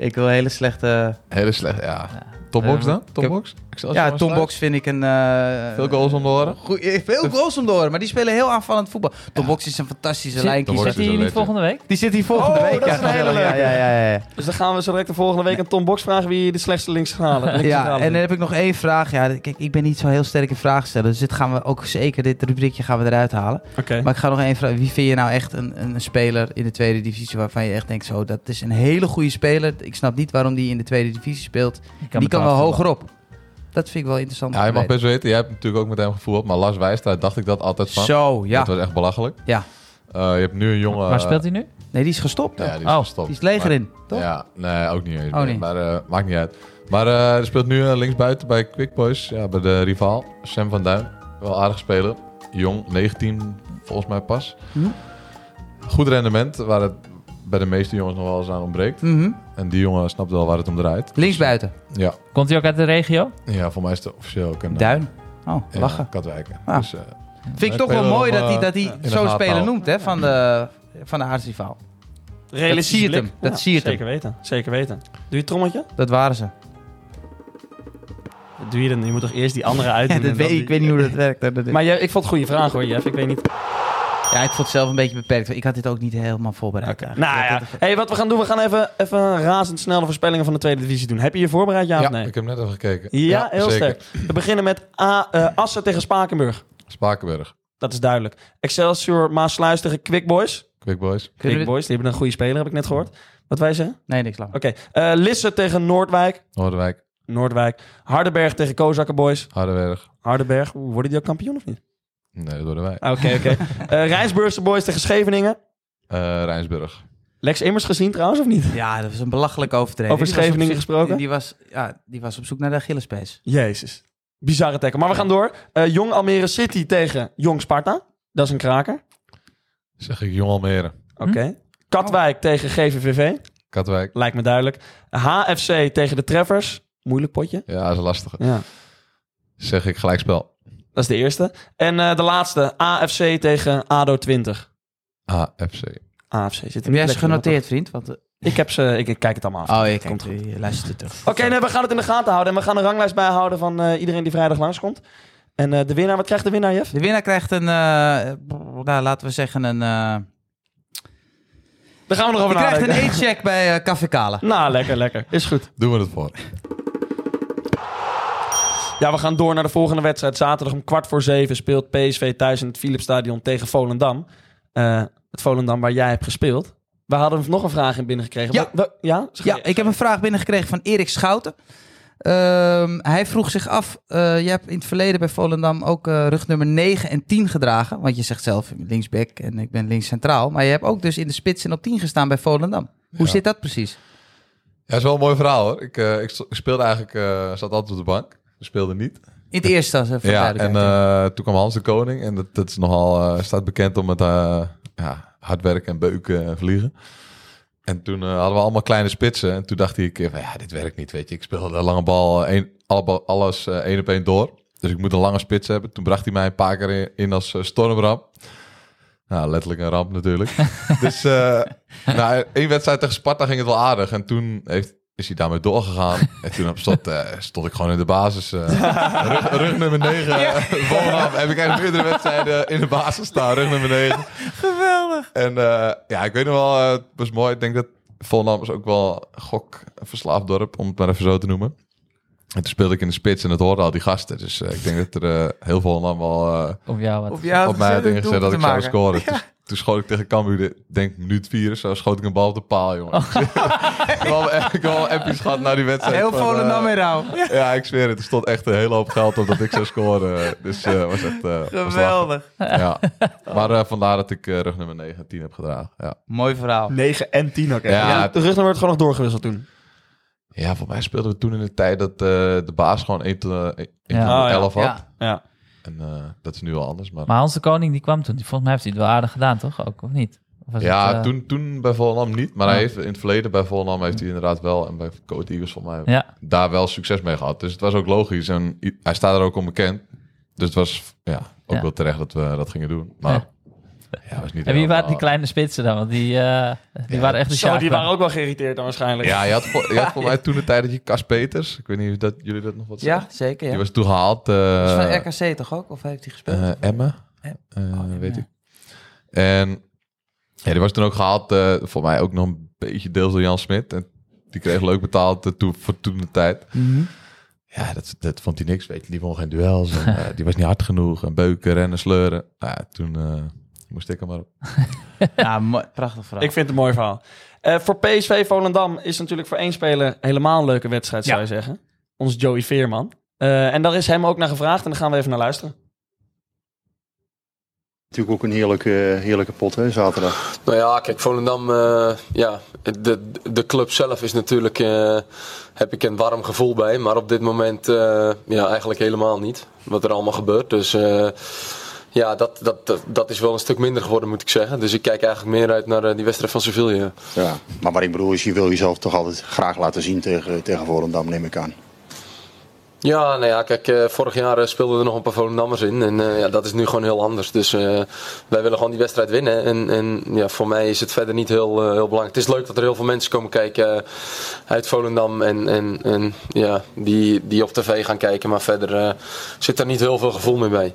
Ik wil hele slechte... hele slecht, ja. Topbox dan? Topbox? Excelsior Eh, Ja, was Tom daar. Box vind ik een... eh, Veel goals om de oren. goeie- veel goals om te horen, maar die spelen heel aanvallend voetbal. Tom Box is een fantastische Zit, Tom lijnkies. Box zit is een hij hier niet legend. volgende week? Die zit hier volgende Oh, week. dat is een hele ja, leuke. ja, ja, ja, ja. Dus dan gaan we zo direct de volgende week aan Tom Box vragen wie de slechtste links gaat halen. Ja, Linkscentrale en dan vindt. heb ik nog één vraag. Ja, kijk, ik ben niet zo heel sterk in vragen stellen. Dus dit gaan we ook zeker, dit rubriekje gaan we eruit halen. Oké. Maar ik ga nog één vraag. Wie vind je nou echt een, een speler in de tweede divisie waarvan je echt denkt, zo, dat is een hele goede speler. Ik snap niet waarom die in de tweede divisie speelt. die kan wel betaald hogerop. Dat vind ik wel interessant. Ja, om je te mag weten. best weten, jij hebt natuurlijk ook met hem gevoel op, maar Lars Wijs, daar dacht ik dat altijd van. Zo, ja. Dat was echt belachelijk. ja. Eh, je hebt nu een jongen... Waar speelt hij nu? Nee, die is gestopt. Ja, toch? die is Oh, gestopt. die is leger Maar- in, toch? Ja, nee, ook niet eens. Oh, meer, niet. Maar eh, maakt niet uit. Maar eh, er speelt nu eh, linksbuiten bij Quick Boys, ja, bij de rivaal, Sam van Duin. Wel aardig speler. Jong, 19 volgens mij pas. Hm. Goed rendement, waar het bij de meeste jongens nog wel eens aan ontbreekt. Mhm. En die jongen snapt wel waar het om draait. Linksbuiten. Ja, Komt hij ook uit de regio? ja voor mij is het officieel ook een... Duin. Oh, Ja, lachen. Katwijken. Ah. Dus, eh, Vind ik toch wel spelen mooi om, dat hij, eh, dat hij in de zo'n gaten speler houden. noemt hè, van de, van de aardsrivaal. Realistisch siert hem, dat siert hem. zeker weten, zeker weten. Doe je het trommetje? Dat [LAUGHS] waren ze. Doe je dan? Je moet toch eerst die [LAUGHS] andere uitdoen. en dan die- niet hoe dat werkt. [LAUGHS] Dat- dat- Maar je, ik vond het goede vraag hoor, Jeff. Ik [LAUGHS] weet niet. ja, ik vond het zelf een beetje beperkt. want Ik had dit ook niet helemaal voorbereid. Nou ja, hey, wat we gaan doen, we gaan even, even razendsnel de voorspellingen van de tweede divisie doen. Heb je je voorbereid, ja, ja, of nee? ik heb net even gekeken. Ja, heel sterk. We beginnen met A, eh, Assen tegen Spakenburg. Spakenburg. Dat is duidelijk. Excelsior Maasluis tegen Quick Boys. Quick Boys. Kunnen Quick we- Boys, die hebben een goede speler, heb ik net gehoord. Wat wij zeggen? Nee, niks lang. Oké. Eh, Lisse tegen Noordwijk. Noorderwijk. Noordwijk. Hardenberg tegen Kozakken Boys. Hardenberg. Hardenberg. Oeh, Worden die ook kampioen of niet? Nee, dat worden wij. Oké, [LAUGHS] oké. Eh, Rijnsburgse Boys tegen Scheveningen. Eh, Rijnsburg. Lex Immers gezien trouwens, of niet? Ja, dat was een belachelijke overtreding. Over Die was op Scheveningen zoek- gesproken? Die was, ja, die was op zoek naar de Achillespees. Jezus. Bizarre tackle. Maar we gaan door. Eh, Jong Almere City tegen Jong Sparta. Dat is een kraker. Zeg ik Jong Almere. Hm. Oké. Katwijk Oh. tegen GVVV. Katwijk. Lijkt me duidelijk. HFC tegen de Treffers. Moeilijk potje. Ja, dat is lastig. Ja. Zeg ik gelijkspel. Dat is de eerste. En eh, de laatste. AFC tegen ADO 20. AFC. AFC zit in Heb jij de ze plek- genoteerd, Ah. vriend? Want, oh, Ik heb ze. Oh, Ik, ik kijk het allemaal af. je Komt komt je luistert het toch. Oké, nee, we gaan het in de gaten houden. En we gaan een ranglijst bijhouden van eh, iedereen die vrijdag langskomt. En eh, de winnaar, wat krijgt de winnaar, Jeff? De winnaar krijgt een, eh, nou, laten we zeggen, een, eh Daar gaan we nog je over krijgt nadenken. een e-check bij eh, Café Kale. Nou, lekker, lekker. Is goed. Doen we het voor. Ja, we gaan door naar de volgende wedstrijd. Zaterdag om kwart voor zeven speelt PSV thuis in het Philipsstadion tegen Volendam. Eh, het Volendam waar jij hebt gespeeld. We hadden nog een vraag in binnengekregen. Ja. We- we- ja? Ja, ik heb een vraag binnengekregen van Erik Schouten. Ehm, hij vroeg zich af, eh je hebt in het verleden bij Volendam ook eh rug nummer 9 en 10 gedragen. Want je zegt zelf, ik ben linksback en ik ben links centraal. Maar je hebt ook dus in de spits en op 10 gestaan bij Volendam. Hoe Ja. zit dat precies? Ja, is wel een mooi verhaal hoor. Ik, eh, ik st- ik speelde eigenlijk, eh, zat altijd op de bank. Speelde niet. In het eerste, als even Ja, en duidelijkheid. eh, toen kwam Hans de Koning. En dat, dat is nogal, eh, staat bekend om het eh, ja, hard werken en beuken en vliegen. En toen eh, hadden we allemaal kleine spitsen. En toen dacht hij een keer van, ja, dit werkt niet, weet je. Ik speelde de lange bal, eh, één, alle bal- alles eh, één op één door. Dus ik moet een lange spits hebben. Toen bracht hij mij een paar keer in, in als eh, stormramp. Nou, letterlijk een ramp natuurlijk. dus eh nou, één wedstrijd tegen Sparta ging het wel aardig. En toen heeft, is hij daarmee doorgegaan. En toen op slot eh, stond ik gewoon in de basis. eh, rug, rug nummer 9. eh, Volendam. Heb ik eigenlijk meerdere wedstrijden in de basis staan. Rug nummer 9. Geweldig. En eh, ja, ik weet nog wel, eh, het was mooi. Ik denk dat Volendam is ook wel gok verslaafd dorp, om het maar even zo te noemen. En toen speelde ik in de spits en dat hoorden al die gasten. Dus eh, ik denk dat er eh, heel Volendam wel... eh, Of jou wat? jou op mij had ingezet dat ik zou maken. scoren. Toen, toen schoot ik tegen Cambuur, de- denk minuut 4 of zo, schoot ik een bal op de paal, jongen. Oh. [LAUGHS] ik heb wel- ik heb wel episch gehad na die wedstrijd. Heel van, eh, Volendam in rouw. Ja, ik zweer het. Er stond echt een hele hoop geld op dat ik zou scoren. Dus eh was echt... eh, was lachen. [LAUGHS] ja. Maar eh, vandaar dat ik eh, rug nummer 9 en 10 heb gedragen. Ja. Mooi verhaal. 9 en 10, oké. Ja. De rugnummer werd gewoon nog doorgewisseld toen. ja, voor mij speelden we toen in de tijd dat eh, de baas gewoon 1 tot eh, 1 Ja. tot Oh, ja. 11 had. Ja. Ja. En eh, dat is nu wel anders. Maar, Maar Hans de Koning die kwam toen. Die- Volgens mij heeft hij het wel aardig gedaan, toch? Ook, of niet? Of was ja, het, eh, toen, toen bij Volendam niet. Maar Ja. hij heeft, in het verleden bij Volendam heeft hij inderdaad wel... En bij Coat Eagles volgens mij Ja, daar wel succes mee gehad. Dus het was ook logisch. En i- hij staat er ook onbekend. Dus het was ja, ook Ja. wel terecht dat we dat gingen doen. Maar ja, het was niet en wie waren die helemaal- kleine spitsen dan? Want die, eh, die Ja. waren echt de Zo, die Sjaak waren ook wel geïrriteerd dan waarschijnlijk. Ja, je had, voor, je had voor mij toen de tijd dat je Cas Peters... Ik weet niet of dat, jullie dat nog wat Ja, zeggen. zeker. Ja. Die was toen gehaald. eh, Dat is van RKC toch ook? Of heeft hij gespeeld? eh, Emmen. Em- oh, Eh, Emmen, weet ja. ik. En ja, die was toen ook gehaald. eh voor mij ook nog een beetje deels door Jan Smit. En die kreeg leuk betaald eh, toen, voor toen de tijd. Mhm. Ja, dat, dat vond hij niks. Weet je, die won geen duels. [LAUGHS] En, eh, die was niet hard genoeg. En beuken, rennen, sleuren. Nou ja, toen eh, moest ik hem maar op. Ja, mooi. prachtig verhaal. Ik vind het een mooi verhaal. Eh, voor PSV Volendam is natuurlijk voor één speler helemaal een leuke wedstrijd, zou Ja. je zeggen. Ons Joey Veerman. Eh, Eh, en daar is hem ook naar gevraagd en daar gaan we even naar luisteren. Natuurlijk ook een heerlijke, heerlijke pot, hè, zaterdag. Nou ja, kijk, Volendam, eh, ja, de, de club zelf is natuurlijk, eh, heb ik een warm gevoel bij. Maar op dit moment eh, ja, eigenlijk helemaal niet, wat er allemaal gebeurt. Dus eh, ja, dat, dat, dat, dat is wel een stuk minder geworden, moet ik zeggen. Dus ik kijk eigenlijk meer uit naar eh, die wedstrijd van Sevilla. Ja. Maar wat ik bedoel is, je wil jezelf toch altijd graag laten zien tegen, tegen Volendam, neem ik aan. Ja, nou ja, kijk, eh, vorig jaar eh, speelden er nog een paar Volendammers in. En eh, ja, dat is nu gewoon heel anders. Dus eh, wij willen gewoon die wedstrijd winnen. En, en ja, voor mij is het verder niet heel, eh, heel belangrijk. Het is leuk dat er heel veel mensen komen kijken eh, uit Volendam. En, en, en ja, die, die op tv gaan kijken. Maar verder eh, zit daar niet heel veel gevoel meer bij.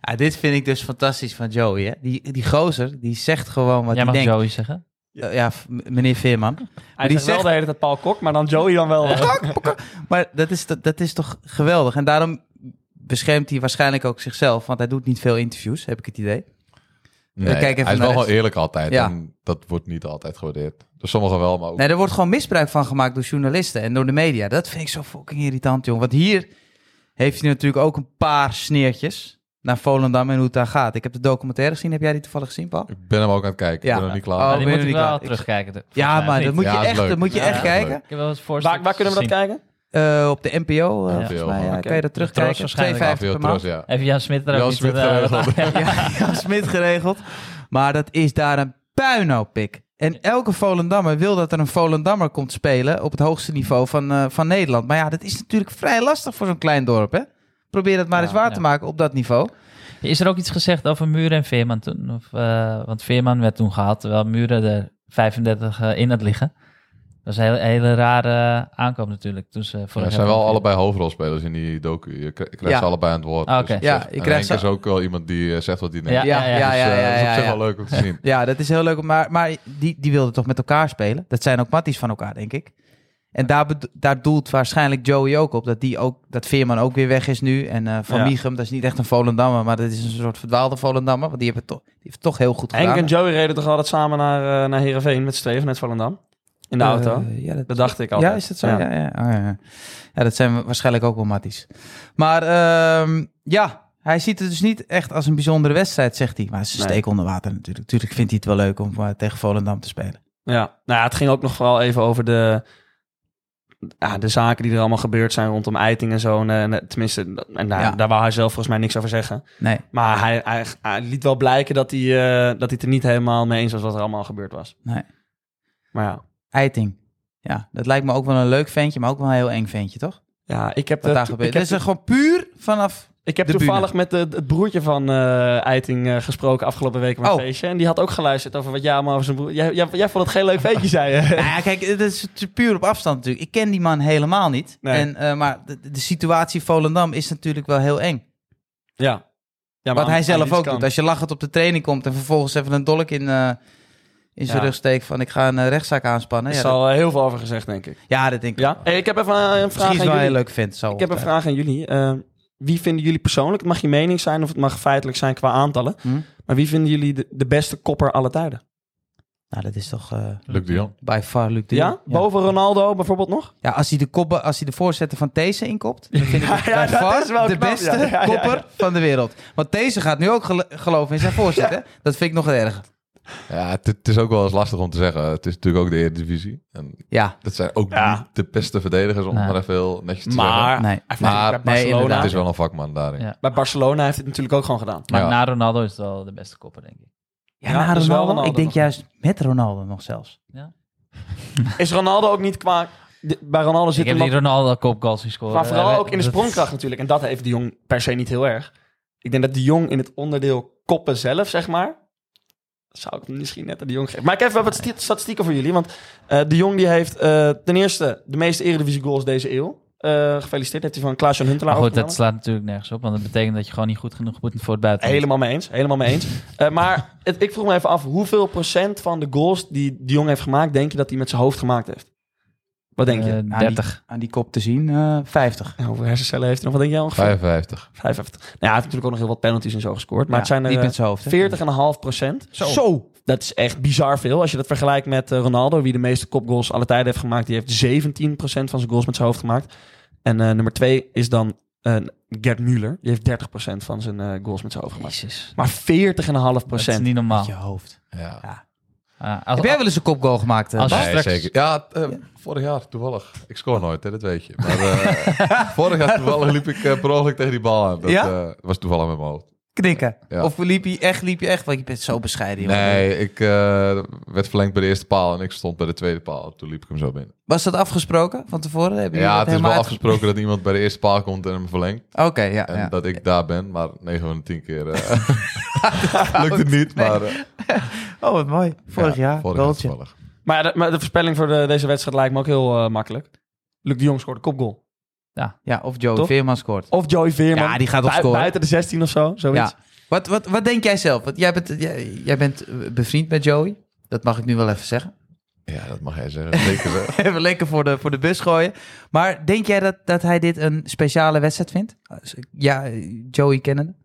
Ja, dit vind ik dus fantastisch van Joey. Hè? Die, die gozer, die zegt gewoon wat Jij hij mag denkt. Joey zeggen. Eh, ja, f- m- meneer Veerman. Hij die zegt wel zegt- de hele tijd Paul Kok, maar dan Joey dan wel. eh. Maar dat is, dat, dat is toch geweldig. En daarom beschermt hij waarschijnlijk ook zichzelf. Want hij doet niet veel interviews, heb ik het idee. Nee, kijken even hij is naar wel gewoon rechts. eerlijk altijd. Ja. En dat wordt niet altijd gewaardeerd. Dus sommigen wel, maar ook... Nee, er wordt gewoon misbruik van gemaakt door journalisten en door de media. Dat vind ik zo fucking irritant, jong. Want hier heeft hij natuurlijk ook een paar sneertjes naar Volendam en hoe het daar gaat. Ik heb de documentaire gezien. Heb jij die toevallig gezien, Paul? Ik ben hem ook aan het kijken. Ja. Ik ben nog niet klaar. Oh, Maar die ben moet je ik niet wel klaar? terugkijken. de- volgens Ja, mij, maar of niet? dat moet je Ja, dat is echt, dat leuk. moet je Ja, echt dat is leuk. kijken. Ik heb wel eens voorstel. waar, waar kunnen we dat kijken? Eh, op de NPO, eh, Ja. volgens mij. ja. Oké. Kan je dat Tros terugkijken? waarschijnlijk. 2,50 Veel per maand. trots, ja. Even Jan Smit er ook Jan niet, Smit eh, geregeld. wat aan- Ja, [LAUGHS] Jan Smit geregeld. Maar dat is daar een puinhoop-pik. En elke Volendammer wil dat er een Volendammer komt spelen op het hoogste niveau van, eh, van Nederland. Maar ja, dat is natuurlijk vrij lastig voor zo'n klein dorp, hè? Probeer dat maar Ja, eens waar ja. te maken op dat niveau. Is er ook iets gezegd over Muren en Veerman toen? Of, eh, want Veerman werd toen gehaald, terwijl Muren er 35 eh, in had liggen. Dat is een hele, hele rare aankoop natuurlijk. Toen ze Ja, vorig er zijn jaar- wel allebei hoofdrolspelers in die docu. Je kri- krijgt Ja. ze allebei aan het woord. Ah, oké. op Ja, zich- je en krijgt Henk ze- is ook wel iemand die eh, zegt wat hij denkt. Ja, ja, ja. Dus, eh, ja, dat is ja, op zich ja. wel [LAUGHS] leuk om te zien. Ja, dat is heel leuk. Maar, maar die, die wilden toch met elkaar spelen? Dat zijn ook matties van elkaar, denk ik. En daar, bedo- daar doelt waarschijnlijk Joey ook op. Dat, die ook, dat Veerman ook weer weg is nu. En eh, Van Ja. Michum, dat is niet echt een Volendammer. Maar dat is een soort verdwaalde Volendammer. Want die hebben toch, die heeft toch heel goed gedaan. Henk en Joey reden toch altijd samen naar, eh naar Heerenveen met z'n tweeën vanuit Volendam? In de auto? Eh, ja, dat, Dat dacht ik altijd. ja, is dat zo? Ja, ja, ja. Ah, ja, ja. Ja, dat zijn waarschijnlijk ook wel matties. Maar ehm, ja, hij ziet het dus niet echt als een bijzondere wedstrijd, zegt hij. Maar het is een Nee. steek onder water natuurlijk. Tuurlijk vindt hij het wel leuk om eh, tegen Volendam te spelen. Ja, nou ja, het ging ook nog vooral even over de, ja, de zaken die er allemaal gebeurd zijn rondom Eiting en zo. En, eh, tenminste, dat- en daar, Ja. daar wou hij zelf volgens mij niks over zeggen. Nee. Maar hij, hij, hij liet wel blijken dat hij, eh, dat hij het er niet helemaal mee eens was wat er allemaal gebeurd was. Nee. Maar ja, Eiting. Ja, dat lijkt me ook wel een leuk ventje, maar ook wel een heel eng ventje, toch? ja ik heb, Wat dat, daar ik gebeurt. heb- Dat is er gewoon puur vanaf... ik heb de toevallig met de- het broertje van eh, Eiting eh, gesproken afgelopen week op een Oh. feestje. En die had ook geluisterd over wat jij allemaal over zijn broer... Jij, jij, jij vond het geen leuk feestje, zei je. [LAUGHS] Nou ja, kijk, dat is puur op afstand natuurlijk. Ik ken die man helemaal niet. Nee. En, eh, maar de, de situatie Volendam is natuurlijk wel heel eng. Ja. ja Wat hij zelf ook doet. Dat Als je lachend op de training komt en vervolgens even een dolk in, eh, in zijn Ja. rug steekt van ik ga een eh, rechtszaak aanspannen. is Ja, dat, al eh, heel veel over gezegd, denk ik. ja, dat denk ik. Ja? Hey, ik heb even eh, een Misschien vraag is aan het wel een heel jullie. leuk vent. Zo Ik heb een vraag aan jullie. Eh, wie vinden jullie persoonlijk, het mag je mening zijn of het mag feitelijk zijn qua aantallen, Hm? maar wie vinden jullie de, de beste kopper alle tijden? Nou, dat is toch eh Luc de Jong. by far Luc de ja? Jong. Ja. Boven Ronaldo bijvoorbeeld nog? Ja, als hij de, koppen, als hij de voorzetten van These inkopt, dan vind ik het Ja, ja, by dat far is wel de knap, beste ja. Ja, ja, ja. kopper van de wereld. Want These gaat nu ook gel- geloven in zijn voorzetten. Dat vind ik nog erger. Ja, het, het is ook wel eens lastig om te zeggen. Het is natuurlijk ook de Eredivisie. En Ja, dat zijn ook Ja. niet de beste verdedigers, om Nee. maar even heel netjes te zeggen. Maar, nee. hij heeft Maar- natuurlijk bij, nee, Barcelona, inderdaad. Het is wel een vakman daarin. Ja. bij Barcelona heeft hij het natuurlijk ook gewoon gedaan. Maar Ja. na Ronaldo is het wel de beste kopper, denk ik. ja, Ja, na dat is wel Ronaldo. Ronaldo ik denk nog. juist met Ronaldo nog zelfs. Is Ronaldo ook niet qua... de- Bij Ronaldo ik zit heb hem die wat, Ronaldo kopgoals gescoord. maar vooral Eh, ook in de dat- sprongkracht natuurlijk. En dat heeft de Jong per se niet heel erg. Ik denk dat de Jong in het onderdeel koppen zelf, zeg maar... Zou ik misschien net aan de Jong geven. Maar ik heb even wat sti- statistieken voor jullie. Want eh, de Jong die heeft eh, ten eerste de meeste Eredivisie goals deze eeuw. Eh, gefeliciteerd heeft hij van Klaas-Jan Huntelaar Maar goed, Oh, dat overgenomen. slaat natuurlijk nergens op. Want dat betekent dat je gewoon niet goed genoeg bent voor het buitenland. Helemaal mee eens. Helemaal mee eens. Eh, maar het, ik vroeg me even af, hoeveel procent van de goals die de jong heeft gemaakt, denk je dat hij met zijn hoofd gemaakt heeft? Wat denk je? Eh, Nou, 30. Aan die kop te zien, eh 50. En hoeveel hersencellen heeft hij nog? Wat denk jij ongeveer? 55. 55. Nou, ja, hij heeft natuurlijk ook nog heel wat penalties en zo gescoord. Maar Ja, het zijn eh, niet er met zijn hoofd. hè? eh, 40,5 procent. Dat is echt bizar veel. Als je dat vergelijkt met eh, Ronaldo, wie de meeste kopgoals alle tijden heeft gemaakt. Die heeft 17 procent van zijn goals met zijn hoofd gemaakt. En eh, nummer 2 is dan eh, Gerd Müller, die heeft 30% van zijn eh, goals met zijn hoofd gemaakt. Jezus. Maar 40,5 Dat is procent. niet normaal. Met je hoofd. Ja. Ah, Heb als, jij wel eens een kopgoal gemaakt? eh, Als- Bas? Nee, Straks- zeker. Ja, t- eh, vorig jaar toevallig. Ik scoor nooit, hè, dat weet je. [LAUGHS] Maar eh, vorig jaar toevallig liep ik eh, per ongeluk tegen die bal aan. Dat Ja? eh, was toevallig met mijn hoofd. Knikken. Ja. Of liep je echt, liep je echt? Want je bent zo bescheiden. jongen. Nee, ik eh, werd verlengd bij de eerste paal en ik stond bij de tweede paal. Toen liep ik hem zo binnen. Was dat afgesproken van tevoren? Hebben jullie Ja, dat het is wel helemaal uitge- afgesproken dat iemand bij de eerste paal komt en hem verlengt. Oké, ja. En ja. dat ik daar ben, maar 9 van de 10 keer [LAUGHS] [LAUGHS] eh, lukt het niet. Nee. Maar, eh, Oh, wat mooi. Vorig ja, jaar, vorig goaltje. toevallig. Maar, ja, de, maar de voorspelling voor de- deze wedstrijd lijkt me ook heel eh, makkelijk. Luc de Jong scoort een kopgoal. Ja, of Joe Toch? Veerman scoort. Of Joey Veerman. Ja, die gaat op Bui- scoren. Buiten de 16 of zo, zoiets. Ja. Wat, wat, wat denk jij zelf? Want jij bent, jij, jij bent eh, bevriend met Joey. Dat mag ik nu wel even zeggen. [LAUGHS] Ja, dat mag jij zeggen. Zeker wel. Even lekker voor de, voor de bus gooien. Maar denk jij dat, dat hij dit een speciale wedstrijd vindt? Als- Ja, eh, Joey kennen.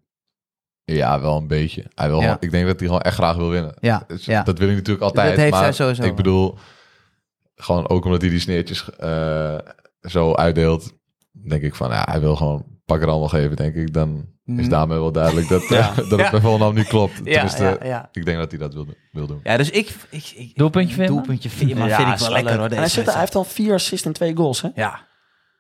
Ja, wel een beetje. Hij wil Ja. gewoon- ik denk dat hij gewoon echt graag wil winnen. Ja, Dus ja. Dat wil hij natuurlijk altijd. Dat heeft maar hij sowieso Ik wel. bedoel, gewoon ook omdat hij die sneertjes eh, zo uitdeelt, denk ik van, ja, hij wil gewoon pak er allemaal geven, denk ik. Dan is Mhm. daarmee wel duidelijk [LAUGHS] dat, eh, Ja. [LAUGHS] dat het bij Volendam niet klopt. Tenminste, ja. ik denk dat hij dat wil, wil doen. Ja, dus ik... ik, ik Doelpuntje Veerman? Doelpuntje Veerman Ja, vind ik is wel lekker hoor. En hij, Deze zit, hij wedstrijd. heeft al vier assists en twee goals, hè? Ja,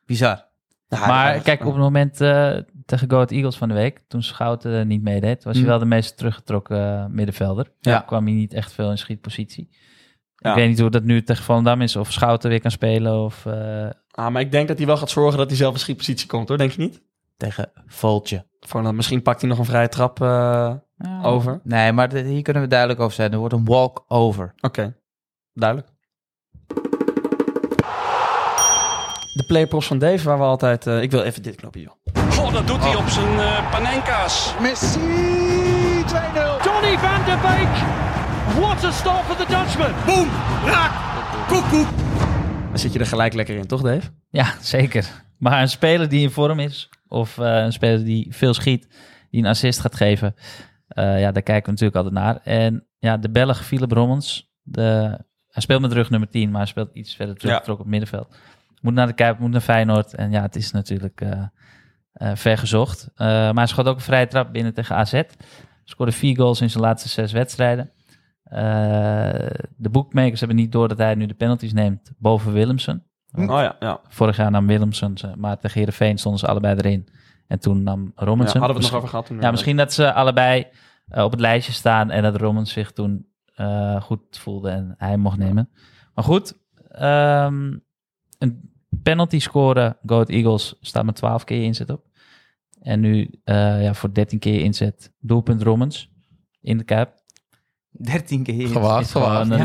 bizar. maar kijk, op het moment eh, tegen Go Ahead Eagles van de week, toen Schouten eh, niet meedeed, was Hmm. hij wel de meest teruggetrokken eh, middenvelder. Mm. Ja. Daar kwam hij niet echt veel in schietpositie. Ja. Ik weet niet hoe dat nu tegen Volendam is, of Schouten weer kan spelen, of... eh, Ah, maar ik denk dat hij wel gaat zorgen dat hij zelf in schietpositie komt, hoor. Denk je niet? Tegen Voltje. Voor, dan, misschien pakt hij nog een vrije trap eh, over. Oké, Nee, maar de- hier kunnen we duidelijk over zijn. Er wordt een walk-over. duidelijk. De playprops van Dave, waar we altijd... eh, ik wil even dit knopje, joh. Oh, dat doet hij op zijn eh, panenka's. Messi 2-0. Donny van de Beek. What a start for the Dutchman. Boom, raak, koekoek. Dan zit je er gelijk lekker in, toch Dave? Ja, zeker. Maar een speler die in vorm is, of eh, een speler die veel schiet, die een assist gaat geven, eh, ja, daar kijken we natuurlijk altijd naar. En ja, de Belg Philip Rommens, de, hij speelt met rug nummer 10, maar hij speelt iets verder teruggetrokken op het middenveld. Moet naar de Kuip, moet naar Feyenoord. En ja, het is natuurlijk eh eh, ver gezocht. Eh, maar hij schoot ook een vrije trap binnen tegen AZ. Scoorde vier goals in zijn laatste zes wedstrijden. Eh, de boekmakers hebben niet door dat hij nu de penalties neemt boven Willemsen. Hm. Oh ja, ja. Vorig jaar nam Willemsen ze, maar tegen Heerenveen stonden ze allebei erin. En toen nam Ja, Robinson. hadden we het nog over gehad toen. Ja, misschien dat ze allebei eh, op het lijstje staan en dat Rommens zich toen eh, goed voelde en hij mocht nemen. Maar goed, ehm, een penalty scoren, Go Ahead Eagles, staat met 12 keer inzet op. En nu eh, ja, voor 13 keer inzet, doelpunt Rommens in de Kuip. 13 keer. Gewaagd, gewaagd. Gewoon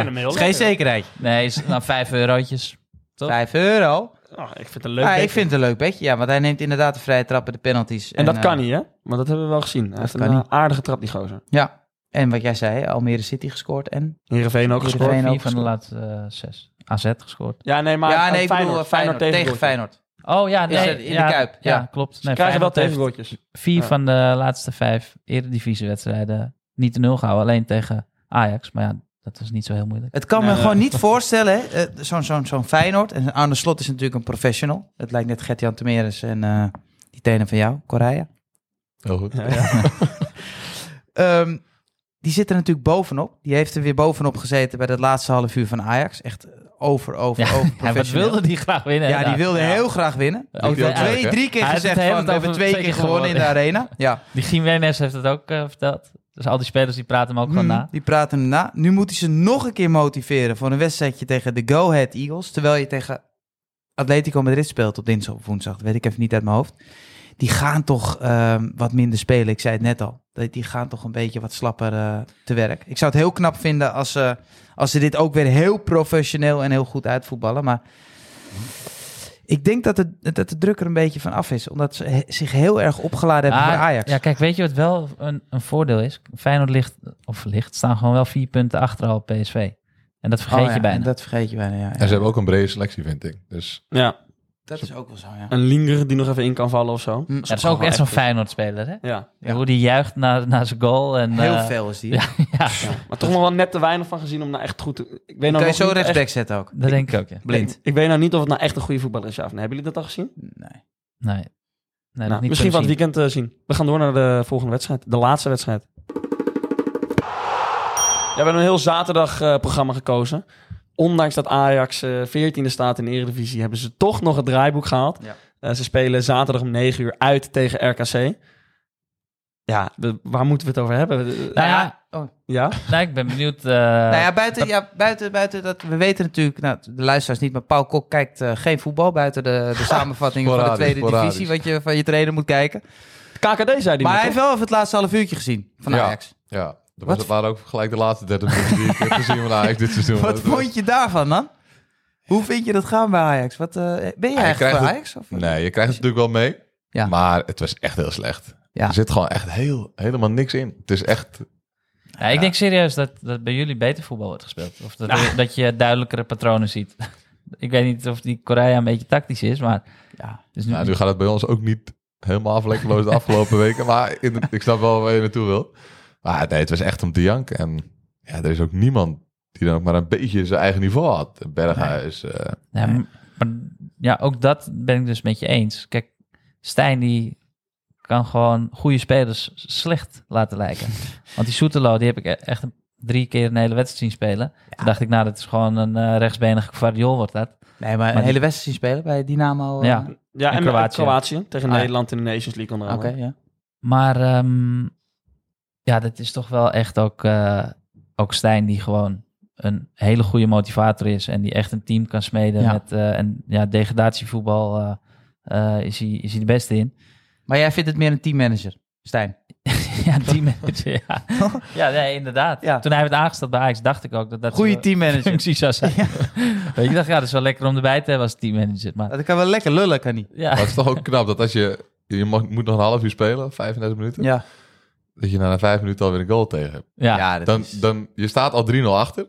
een, eh, Is geen zekerheid. nee, is, nou, 5 eurotjes. Toch? 5 euro. ik vind het een leuk. ah, ik vind het een leuk bedje. Ja, want hij neemt inderdaad de vrije trappen, de penalties. En dat eh, kan niet, hè? Maar dat hebben we wel gezien. Hij heeft een kan eh, niet. aardige trap, die gozer. Ja. En wat jij zei, Almere City gescoort en... Heerenveen ook Heerenveen. gescoord. Vier ook van de laatste eh, zes. AZ gescoord. Ja, nee, maar ja, eh, nee, ik Feyenoord, bedoel, eh, Feyenoord, tegen, Feyenoord. Oh ja, Is nee, er in de ja, Kuip, ja. klopt. Ze Nee, krijgen wel Feyenoord heeft tegenwoordjes. Vier Ja. van de laatste vijf eredivisiewedstrijden niet te nul gehouden. Alleen tegen Ajax. Maar ja, dat was niet zo heel moeilijk. Het kan me Nee. gewoon niet voorstellen, hè, eh, zo'n zo'n zo'n Feyenoord. En Arne Slot is natuurlijk een professional. Het lijkt net Gert-Jan Temeres en eh, die trainer van jou, Correa. Heel goed. Ja, ja. Ehm, die zit er natuurlijk bovenop. Die heeft er weer bovenop gezeten bij dat laatste half uur van Ajax. Echt eh, over, [LAUGHS] over, Ja, over Ja, wat professional. wilde die graag winnen? Ja, die inderdaad. wilde heel graag winnen. Ook wel Ook twee, duidelijk, hè? drie keer Hij heeft gezegd het de hele van, we tijd hebben over twee keer gewonnen in de arena. Ja. Die Jiménez heeft het ook eh, verteld. Dus al die spelers die praten hem ook gewoon Hmm, na. Die praten hem na. Nu moet hij ze nog een keer motiveren voor een wedstrijdje tegen de Go Ahead Eagles. Terwijl je tegen Atletico Madrid speelt op dinsdag of woensdag. Dat weet ik even niet uit mijn hoofd. Die gaan toch ehm, wat minder spelen. Ik zei het net al. Die- Die gaan toch een beetje wat slapper eh, te werk. Ik zou het heel knap vinden als ze, als ze dit ook weer heel professioneel en heel goed uitvoetballen. Maar ik denk dat de, dat de druk er een beetje van af is. Omdat ze he- zich heel erg opgeladen hebben Ah, voor Ajax. Ja, kijk, weet je wat wel een, een voordeel is? Feyenoord ligt, of ligt, staan gewoon wel vier punten achter al op PSV. En dat vergeet Oh ja, je bijna. Dat vergeet je bijna, ja. ja. En ze hebben ook een brede selectie, vind ik. Dus ja, Dat is ook wel zo, ja. een Linger die nog even in kan vallen of zo. Hm. Ja, Ja, dat is ook echt zo'n Feyenoord-speler, hè? Ja. Ja. Hoe die juicht naar, naar zijn goal. En, Heel eh, veel is die. ja, ja, Maar toch nog wel net te weinig van gezien om nou echt goed te... Ik weet nou Kan je nog zo niet rechtsback echt- zetten ook? dat denk ik ook, ja. Blind. Ik weet nou niet of het nou echt een goede voetballer is, ja of nee. Hebben jullie dat al gezien? Nee. Nee. Nee, Nou, nog niet misschien van het kunnen weekend eh, zien. We gaan door naar de volgende wedstrijd. De laatste wedstrijd. Ja, we hebben een heel zaterdagprogramma programma gekozen. Ondanks dat Ajax eh 14e staat in de Eredivisie... hebben ze toch nog het draaiboek gehaald. Ja. Eh, ze spelen zaterdag om 9 uur uit tegen RKC. Ja, we- waar moeten we het over hebben? zien. Nou ja, Oh. Ja? nou, ik ben benieuwd. eh, nou ja, buiten, ja, buiten, buiten dat. We weten natuurlijk, nou, de luisteraars niet, maar Paul Kok kijkt eh, geen voetbal buiten de, de samenvattingen van de sporadisch, tweede sporadisch. divisie. Wat je van je trainer moet kijken. KKD zei die Maar hij net, heeft wel even het laatste half uurtje gezien van Ja. Ajax. Ja, dat was, Wat? het waren ook gelijk de laatste 30 minuten die ik heb [LAUGHS] gezien van Ajax dit seizoen. Wat Dat was- vond je daarvan dan? Hoe vind je dat gaan bij Ajax? Wat, eh, ben je Ja, je eigenlijk krijgt voor het- Ajax? Of? Nee, je krijgt het natuurlijk wel mee. Ja. Maar het was echt heel slecht. Ja. Er zit gewoon echt heel, helemaal niks in. Het is echt... ja, ik denk serieus dat, dat bij jullie beter voetbal wordt gespeeld. Of dat, Nou. dat je duidelijkere patronen ziet. [LAUGHS] ik weet niet of die Korea een beetje tactisch is, maar... Ja. Dus Nou, nu gaat het bij ons ook niet helemaal vlekkeloos de afgelopen [LAUGHS] weken. Maar in- ik snap wel waar je naartoe wil. Maar nee, het was echt om te janken. En ja, er is ook niemand die dan ook maar een beetje zijn eigen niveau had. Berghuis. eh, Ja, m- maar ja, ook dat ben ik dus met je eens. Kijk, Stijn die kan gewoon goede spelers s- slecht laten [LAUGHS] lijken. Want die Soetelo, die heb ik e- echt een- drie keer een hele wedstrijd zien spelen. Toen dacht ik, nou, dat is gewoon een eh rechtsbenige kwartiol wordt dat. Nee, maar een Maar- hele wedstrijd zien spelen bij Dynamo. Oh, eh, Ja, Oké, Ja, en, En Kroatië. Kroatië. tegen Ah, ja. Nederland in de Nations League onder andere. ja. Maar ehm, ja, dat is toch wel echt ook, eh, ook Stijn die gewoon een hele goede motivator is. En die echt een team kan smeden Ja. met eh, en, ja, degradatievoetbal. eh, eh, is, hij, is hij de beste in. Maar jij vindt het meer een teammanager, Stijn. [LAUGHS] [LAUGHS] Ja, teammanager, ja. ja, nee, inderdaad. Ja. Toen hij werd aangesteld bij Ajax, dacht ik ook dat dat Goede zo'n [LAUGHS] teammanager. functie zou zijn. Weet je, ik dacht, ja, dat is wel lekker om erbij te hebben als teammanager. Maar Dat kan wel lekker lullen, kan niet. ja, maar het is toch ook knap dat als je... Je mag- moet nog een half uur spelen, 35 minuten. Ja, Dat je na vijf minuten alweer een goal tegen hebt. ja. ja dat Dan, is- dan, je staat al 3-0 [LAUGHS] achter.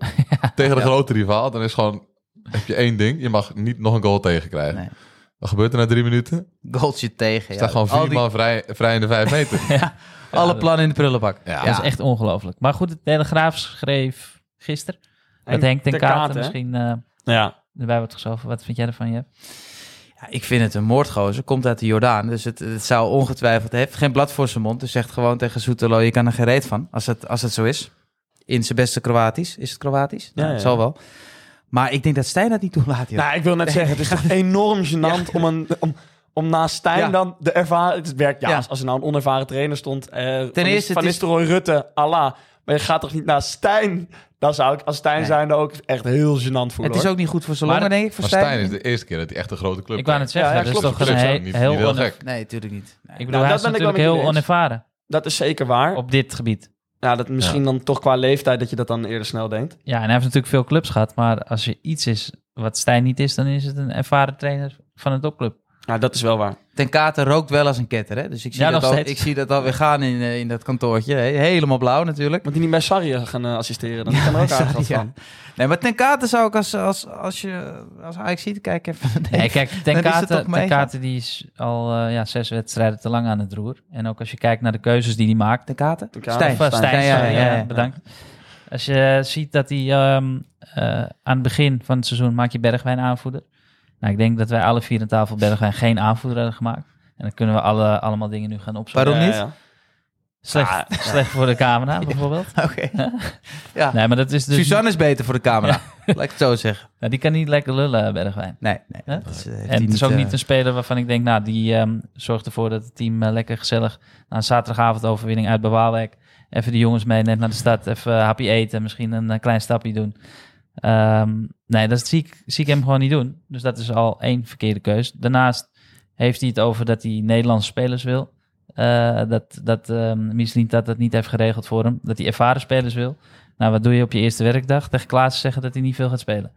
Tegen de grote rivaal. Dan is gewoon... Heb je één ding. Je mag niet nog een goal tegenkrijgen. Nee. Wat gebeurt er na drie minuten? Er goaltje tegen. staat ja. gewoon Al vier die- man vrij, vrij in de [LAUGHS] vijf meter. Alle plannen in de prullenbak. Ja. dat is echt ongelooflijk. Maar goed, de Telegraaf schreef gisteren dat En Henk ten Ter Katen Kate, hè? misschien eh, Ja, erbij wordt geschoven. Wat vind jij ervan, Jeb? Ja, ik vind het een moordgozer. Komt uit de Jordaan. Dus het, het zou ongetwijfeld... Hij heeft geen blad voor zijn mond. Dus zegt gewoon tegen Soetelo... Je kan er geen reet van. Als het, als het zo is. In zijn beste Kroatisch. Is het Kroatisch? Ja, nou, ja, Het ja. zal wel. Maar ik denk dat Stijn dat niet toelaat. joh. Nou, ik wil net zeggen, het is [LAUGHS] toch enorm gênant om, een, om, om naast Stijn Ja. dan de ervaring... Het werkt, ja, Ja. als, als er nou een onervaren trainer stond... eh, van, eerste, Van het is- Nistelrooy, Rutte, Allah. Maar je gaat toch niet naast Stijn? Dan zou ik als Stijn Nee. zijn er ook echt heel gênant voor. het is hoor. ook niet goed voor zijn Maar- longen, denk ik. Voor Maar Stijn. Stijn is de eerste keer dat hij echt een grote club Ik wou net krijgt. zeggen, Ja, ja, dat is klopt. toch een Club he- zijn, niet- heel... niet heel oner- gek. Nee, natuurlijk niet. Nee. Ik bedoel, Nou, hij dat is ben ik wel natuurlijk met heel jullie eens. onervaren Dat is zeker waar. op dit gebied. Ja, dat misschien dan toch qua leeftijd dat je dat dan eerder snel denkt. Ja, en hij heeft natuurlijk veel clubs gehad. Maar als er iets is wat Stijn niet is, dan is het een ervaren trainer van een topclub. Ja, dat is wel waar. Ten Katen rookt wel als een ketter, hè? Dus ik zie, Ja, dat, nog al, steeds. ik zie dat alweer gaan in, eh, in dat kantoortje. hè. Helemaal blauw natuurlijk. Moet hij niet bij Sarri gaan eh, assisteren? Dan kan er ook Sorry, aardig wat [LAUGHS] ja. van. Nee, maar Ten Katen zou ik als, als, als je als Ajax ziet kijken even... Nee, kijk, Ten Dan is het Kate, toch mee, Ten Kate die is al eh, ja, zes wedstrijden te lang aan het roer. En ook als je kijkt naar de keuzes die hij maakt. Ten Katen? Ten Kate, Stijn. Of, eh, Stijn, Stijn, ja, sorry, ja, ja, eh, ja. bedankt. Als je eh, ziet dat hij ehm, eh, aan het begin van het seizoen maak je Bergwijn aanvoerder. Nou, ik denk dat wij alle vier aan tafel Bergwijn geen aanvoerder hebben gemaakt. En dan kunnen we alle, allemaal dingen nu gaan opzoeken. Waarom Ah, Ja, niet? ja. Slecht, slecht voor de camera [LAUGHS] bijvoorbeeld. Oké. Ja. Nee, maar dat is dus... Dus Suzanne is beter voor de camera. [LAUGHS] Laat ik het zo zeggen. Nou, die kan niet lekker lullen, Bergwijn. Nee, nee. Hè? dat is, eh, heeft hij En het is ook eh, niet een speler waarvan ik denk, nou, die ehm, zorgt ervoor dat het team eh, lekker gezellig na een zaterdagavond overwinning uit Bewaarwijk. Even de jongens mee net naar de stad, even eh, hapje eten, misschien een eh, klein stapje doen. Ehm, nee, dat zie ik, zie ik hem gewoon niet doen. Dus dat is al één verkeerde keus. Daarnaast heeft hij het over dat hij Nederlandse spelers wil. Eh, dat dat ehm Michelin dat, dat niet heeft geregeld voor hem. Dat hij ervaren spelers wil. Nou, wat doe je op je eerste werkdag? Tegen Klaas zeggen dat hij niet veel gaat spelen.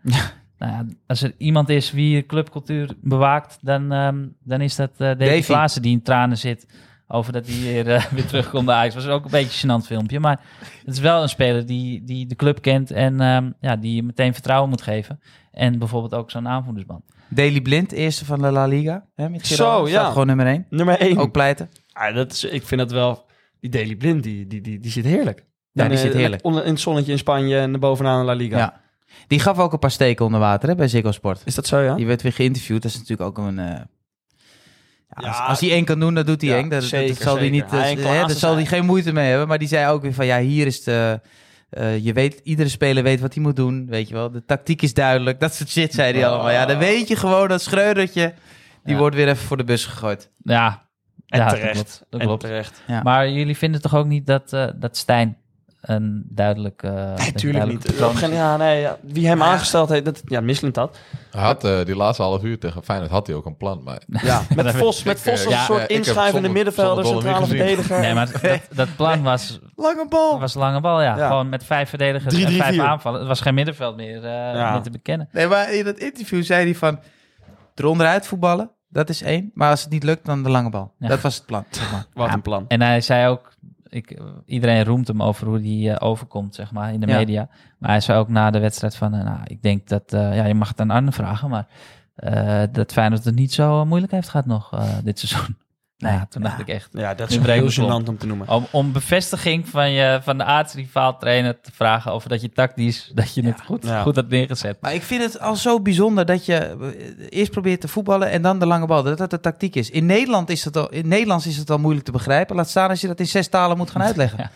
Nou ja, als er iemand is wie clubcultuur bewaakt, dan, ehm, dan is dat eh Davy Davy. Klaassen die in tranen zit over dat hij weer, eh, [LAUGHS] weer terugkomt bij Ajax. was ook een beetje een gênant filmpje, maar het is wel een speler die, die de club kent en ehm, ja, die je meteen vertrouwen moet geven. En bijvoorbeeld ook zo'n aanvoerdersband. Daley Blind, eerste van de La Liga. Hè, met Girona. Zo, ja. Staat gewoon nummer één. Nummer 1. Ook pleiten. Ah, dat is, ik vind dat wel... Die Daily Blind, die, die, die, die zit heerlijk. Ja, En, die eh, zit heerlijk. onder- In het zonnetje in Spanje en bovenaan in La Liga. Ja. Die gaf ook een paar steken onder water hè, bij Ziggo Sport. Is dat zo, ja? Die werd weer geïnterviewd. Dat is natuurlijk ook een... eh, Ja, als, Ja, als hij één kan doen, dan doet hij ja, één. Dat, dat- dat zeker, zal hij zeker. niet, Hij dat- en hè, Klaassen daar zal hij zijn- geen moeite mee hebben. Maar die zei ook weer van, ja, hier is de... eh, je weet, iedere speler weet wat hij moet doen, weet je wel. De tactiek is duidelijk, dat soort shit, zei hij allemaal. Ja, dan weet je gewoon dat Schreudertje, die Ja. wordt weer even voor de bus gegooid. Ja, En ja, dat terecht. klopt, dat En klopt. terecht. Ja. Maar jullie vinden toch ook niet dat, eh, dat Stijn een duidelijk. eh, een Natuurlijk duidelijk niet. patroon Op is? geen- Ja, nee, ja. Wie hem aangesteld heeft, dat, ja, mislukt dat. Hij had eh, die laatste half uur tegen Feyenoord had hij ook een plan. Maar Ja, met Vos, met Vos als een Ja, eh, soort ik heb inschrijvende zonder- middenvelder, zonder Dolle centrale niet gezien. verdediger. Nee, maar dat, dat plan was, Lange bal! was lange bal, ja. Ja. Gewoon met vijf verdedigers Drie, en drie, vijf vier. aanvallen. Het was geen middenveld meer, eh, Ja. meer te bekennen. Nee, maar in dat interview zei hij van... eronder uit voetballen, dat is één. Maar als het niet lukt, dan de lange bal. Ja. Dat was het plan, zeg maar. Wat een plan. En hij zei ook, ik, iedereen roemt hem over hoe hij eh, overkomt, zeg maar, in de Ja. media. Maar hij zei ook na de wedstrijd van, eh, nou, ik denk dat, eh, ja, je mag het aan Arne vragen, maar eh dat Feyenoord het niet zo eh, moeilijk heeft gehad nog eh, dit seizoen. Nou ja, toen dacht ik echt. Ja, dat Nu is breekt heel het op. gênant om te noemen. Om, om bevestiging van, je, van de aardsrivaal trainer te vragen over dat je tactisch, dat je het goed, Ja. goed had neergezet. Maar ik vind het al zo bijzonder dat je eh, eerst probeert te voetballen en dan de lange bal. Dat dat de tactiek is. In, Nederland is dat al, in Nederlands is het al moeilijk te begrijpen. Laat staan als je dat in zes talen moet gaan [LAUGHS] uitleggen. Ja.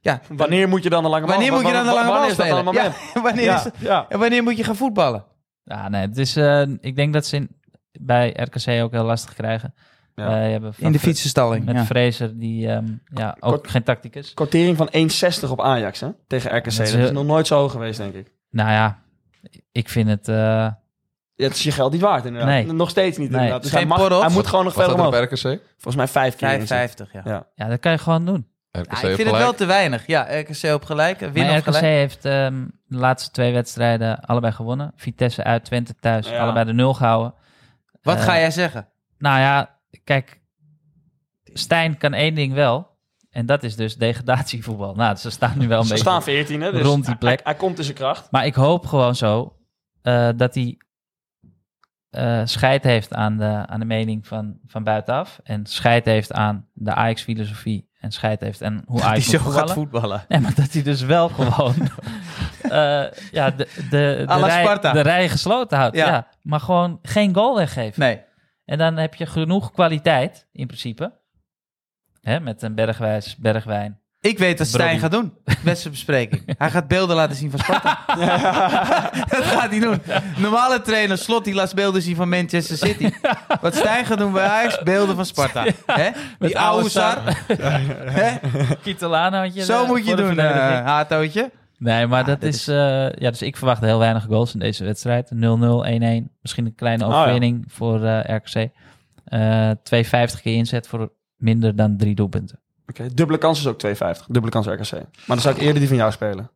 Ja. Wanneer moet je dan de lange bal Wanneer moet je dan de lange bal Wanneer is dat dan spelen? het moment? Ja, [LAUGHS] wanneer, Ja, is het- ja. en wanneer moet je gaan voetballen? Ja, nee, het is, eh, ik denk dat ze in, bij RKC ook heel lastig krijgen. Ja. Wij hebben van In de Vre- fietsenstalling. Met ja. Fraser, die ehm, ja, ook Kort- geen tacticus. Kortering van 1,60 op Ajax hè? tegen RKC. Dat is is, heel- nog nooit zo hoog geweest, denk ik. Nou ja, ik vind het... eh, Ja, het is je geld niet waard, inderdaad. Nee. Nog steeds niet, Nee. inderdaad. Dus Geen hij, mag, porrels. hij moet gewoon nog was verder dat op omhoog. RKC? Volgens mij vijf keer. in zit. 5,50. Ja. Ja. ja, dat kan je gewoon doen. RKC Ja, ik heeft vind het wel gelijk. te weinig. Ja, RKC op gelijk. Win Maar op RKC gelijk. heeft ehm, de laatste twee wedstrijden allebei gewonnen. Vitesse uit, Twente thuis, Ja. allebei de nul gehouden. Wat Eh, ga jij zeggen? Nou ja, kijk, Stijn kan één ding wel. En dat is dus degradatievoetbal. Nou, ze staan nu wel een Ze beetje... staan 14, hè? Dus rond die plek. Hij, hij komt in zijn kracht. Maar ik hoop gewoon zo eh, dat hij eh, scheid heeft aan de, aan de mening van, van buitenaf. En scheid heeft aan de Ajax-filosofie. En scheid heeft aan hoe Ajax moet voetballen. voetballen. Nee, maar dat hij dus wel gewoon eh, ja, de, de, À de, la rij, Sparta. de rij gesloten houdt. Ja. Ja. Maar gewoon geen goal weggeven. Nee. En dan heb je genoeg kwaliteit, in principe. Hè, met een bergwijs, [LAUGHS] bergwijn. Ik weet wat Stijn Brody. gaat doen. Wedstrijdbespreking. Hij gaat beelden laten zien van Sparta. dat gaat hij doen. Normale trainer Slot die laat beelden zien van Manchester City. Wat Stijn gaat doen bij Ajax, beelden van Sparta. Hè? Die oude zar. Hè? Kitolano had je Zo eh, moet je voor de doen, eh verdediging. Hatootje. Nee, maar dat dit is... eh, ja, dus ik verwacht heel weinig goals in deze wedstrijd. 0-0, 1-1. Misschien een Oh, kleine ja. overwinning voor eh, RKC. Eh 2,50 keer inzet voor minder dan drie doelpunten. Oké, Dubbele kans is ook 2,50. Dubbele kans RKC. Maar dan zou ik Oh. eerder die van jou spelen.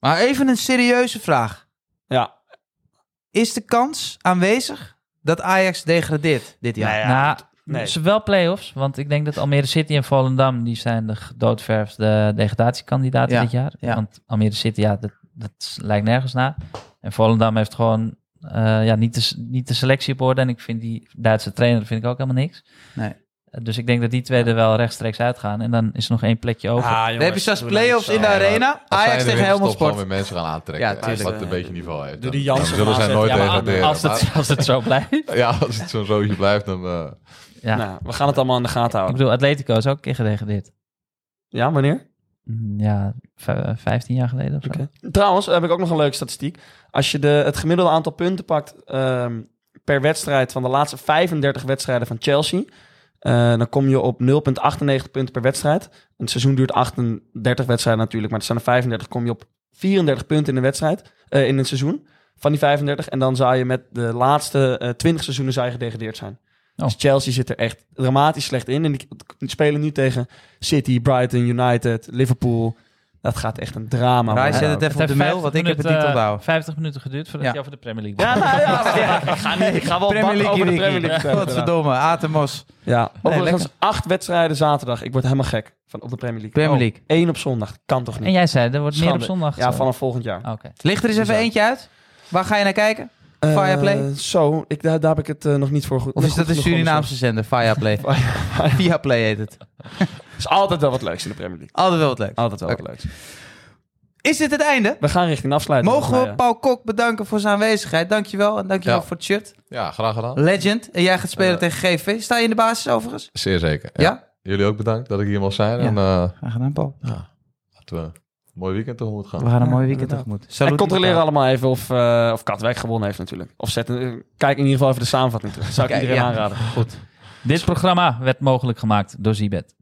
Maar even een serieuze vraag. Ja. Is de kans aanwezig dat Ajax degradeert dit jaar? Nee, ja. nou, nee. ze wel play-offs. Want ik denk dat Almere City en Volendam... die zijn de gedoodverfde degradatiekandidaten Ja, dit jaar. ja. Want Almere City, ja, dat, dat lijkt nergens naar. En Volendam heeft gewoon... eh, ja, niet de, s- niet de selectie op orde. En ik vind die Duitse trainer vind ik ook helemaal niks. Nee. Eh, Dus ik denk dat die twee er wel rechtstreeks uitgaan. En dan is er nog één plekje Ah, over. Dan heb je straks play-offs in de arena. Als zij Ajax er tegen weer Helmond stopt, gewoon Sport. weer mensen gaan aantrekken. Ja, tuurlijk. Wat een beetje niveau heeft. Doe dan- die Jansen dan zullen van zij AZ. nooit Ja, maar degraderen. als, het, [LAUGHS] als het zo blijft. Maar- [LAUGHS] ja, als het zo'n zootje blijft, dan... eh, Ja. Nou, we gaan het allemaal in de gaten Ik houden. bedoel, Atletico is ook een keer gedegradeerd. Ja, wanneer? Mm, Ja, v- 15 jaar geleden of zo. Oké. Trouwens, heb ik ook nog een leuke statistiek. Als je de, het gemiddelde aantal punten pakt ehm, per wedstrijd van de laatste 35 wedstrijden van Chelsea, eh, dan kom je op 0,98 punten per wedstrijd. Een seizoen duurt 38 wedstrijden natuurlijk, maar het zijn er 35, kom je op 34 punten in een wedstrijd, eh, in een seizoen van die 35. En dan zou je met de laatste eh 20 seizoenen zou je gedegradeerd zijn. Oh. Dus Chelsea zit er echt dramatisch slecht in. En die die spelen nu tegen City, Brighton, United, Liverpool. Dat gaat echt een drama Rai worden. zet het even op heeft de mail, 50 want ik heb het minuten, niet eh, onthouden. 50 minuten geduurd voordat Ja. je over de Premier League Ja, begon. nou ja, [LAUGHS] maar ja, ik ga, niet, ik ga wel bakken Premier League, over de Wiki. Premier League. Ja, Wat verdomme, Atemos. Ja, overigens lekker. acht wedstrijden zaterdag. Ik word helemaal gek van op de Premier League. Oh. Premier League. Eén op zondag. Kan toch En niet? jij zei, er wordt meer Schande. op zondag. Ja, eh, vanaf volgend jaar. Oh. Oké. Licht er eens even Bizar. eentje uit. Waar ga je naar kijken? Fireplay? Eh, zo, ik, daar, daar heb ik het eh, nog niet voor goed. Of is goed dat een genoeg onderzocht. Surinaamse zender? [LAUGHS] Fireplay. Viaplay heet het. is altijd wel wat leuks in de Premier League. Altijd wel wat leuk. Altijd wel Oké. wat leuks. Is dit het einde? We gaan richting afsluiting. Mogen we volgens mij, Paul Kok bedanken voor zijn aanwezigheid? Dankjewel en dankjewel Ja. voor het shirt. Ja, graag gedaan. Legend. En jij gaat spelen Eh. tegen GV. Sta je in de basis overigens? Zeer zeker. Ja. Jullie ook bedankt dat ik hier mag zijn. Ja. En eh, Graag gedaan, Paul. laten we een mooi weekend tegemoet gaan. We gaan een mooi weekend inderdaad. tegemoet. ja. Salut. En controleren allemaal even of, eh, of Katwijk gewonnen heeft natuurlijk. Of zet, een- kijk in ieder geval even de samenvatting terug. Zou ik Kijk, iedereen ja. aanraden. Goed. Dit programma werd mogelijk gemaakt door Zibet.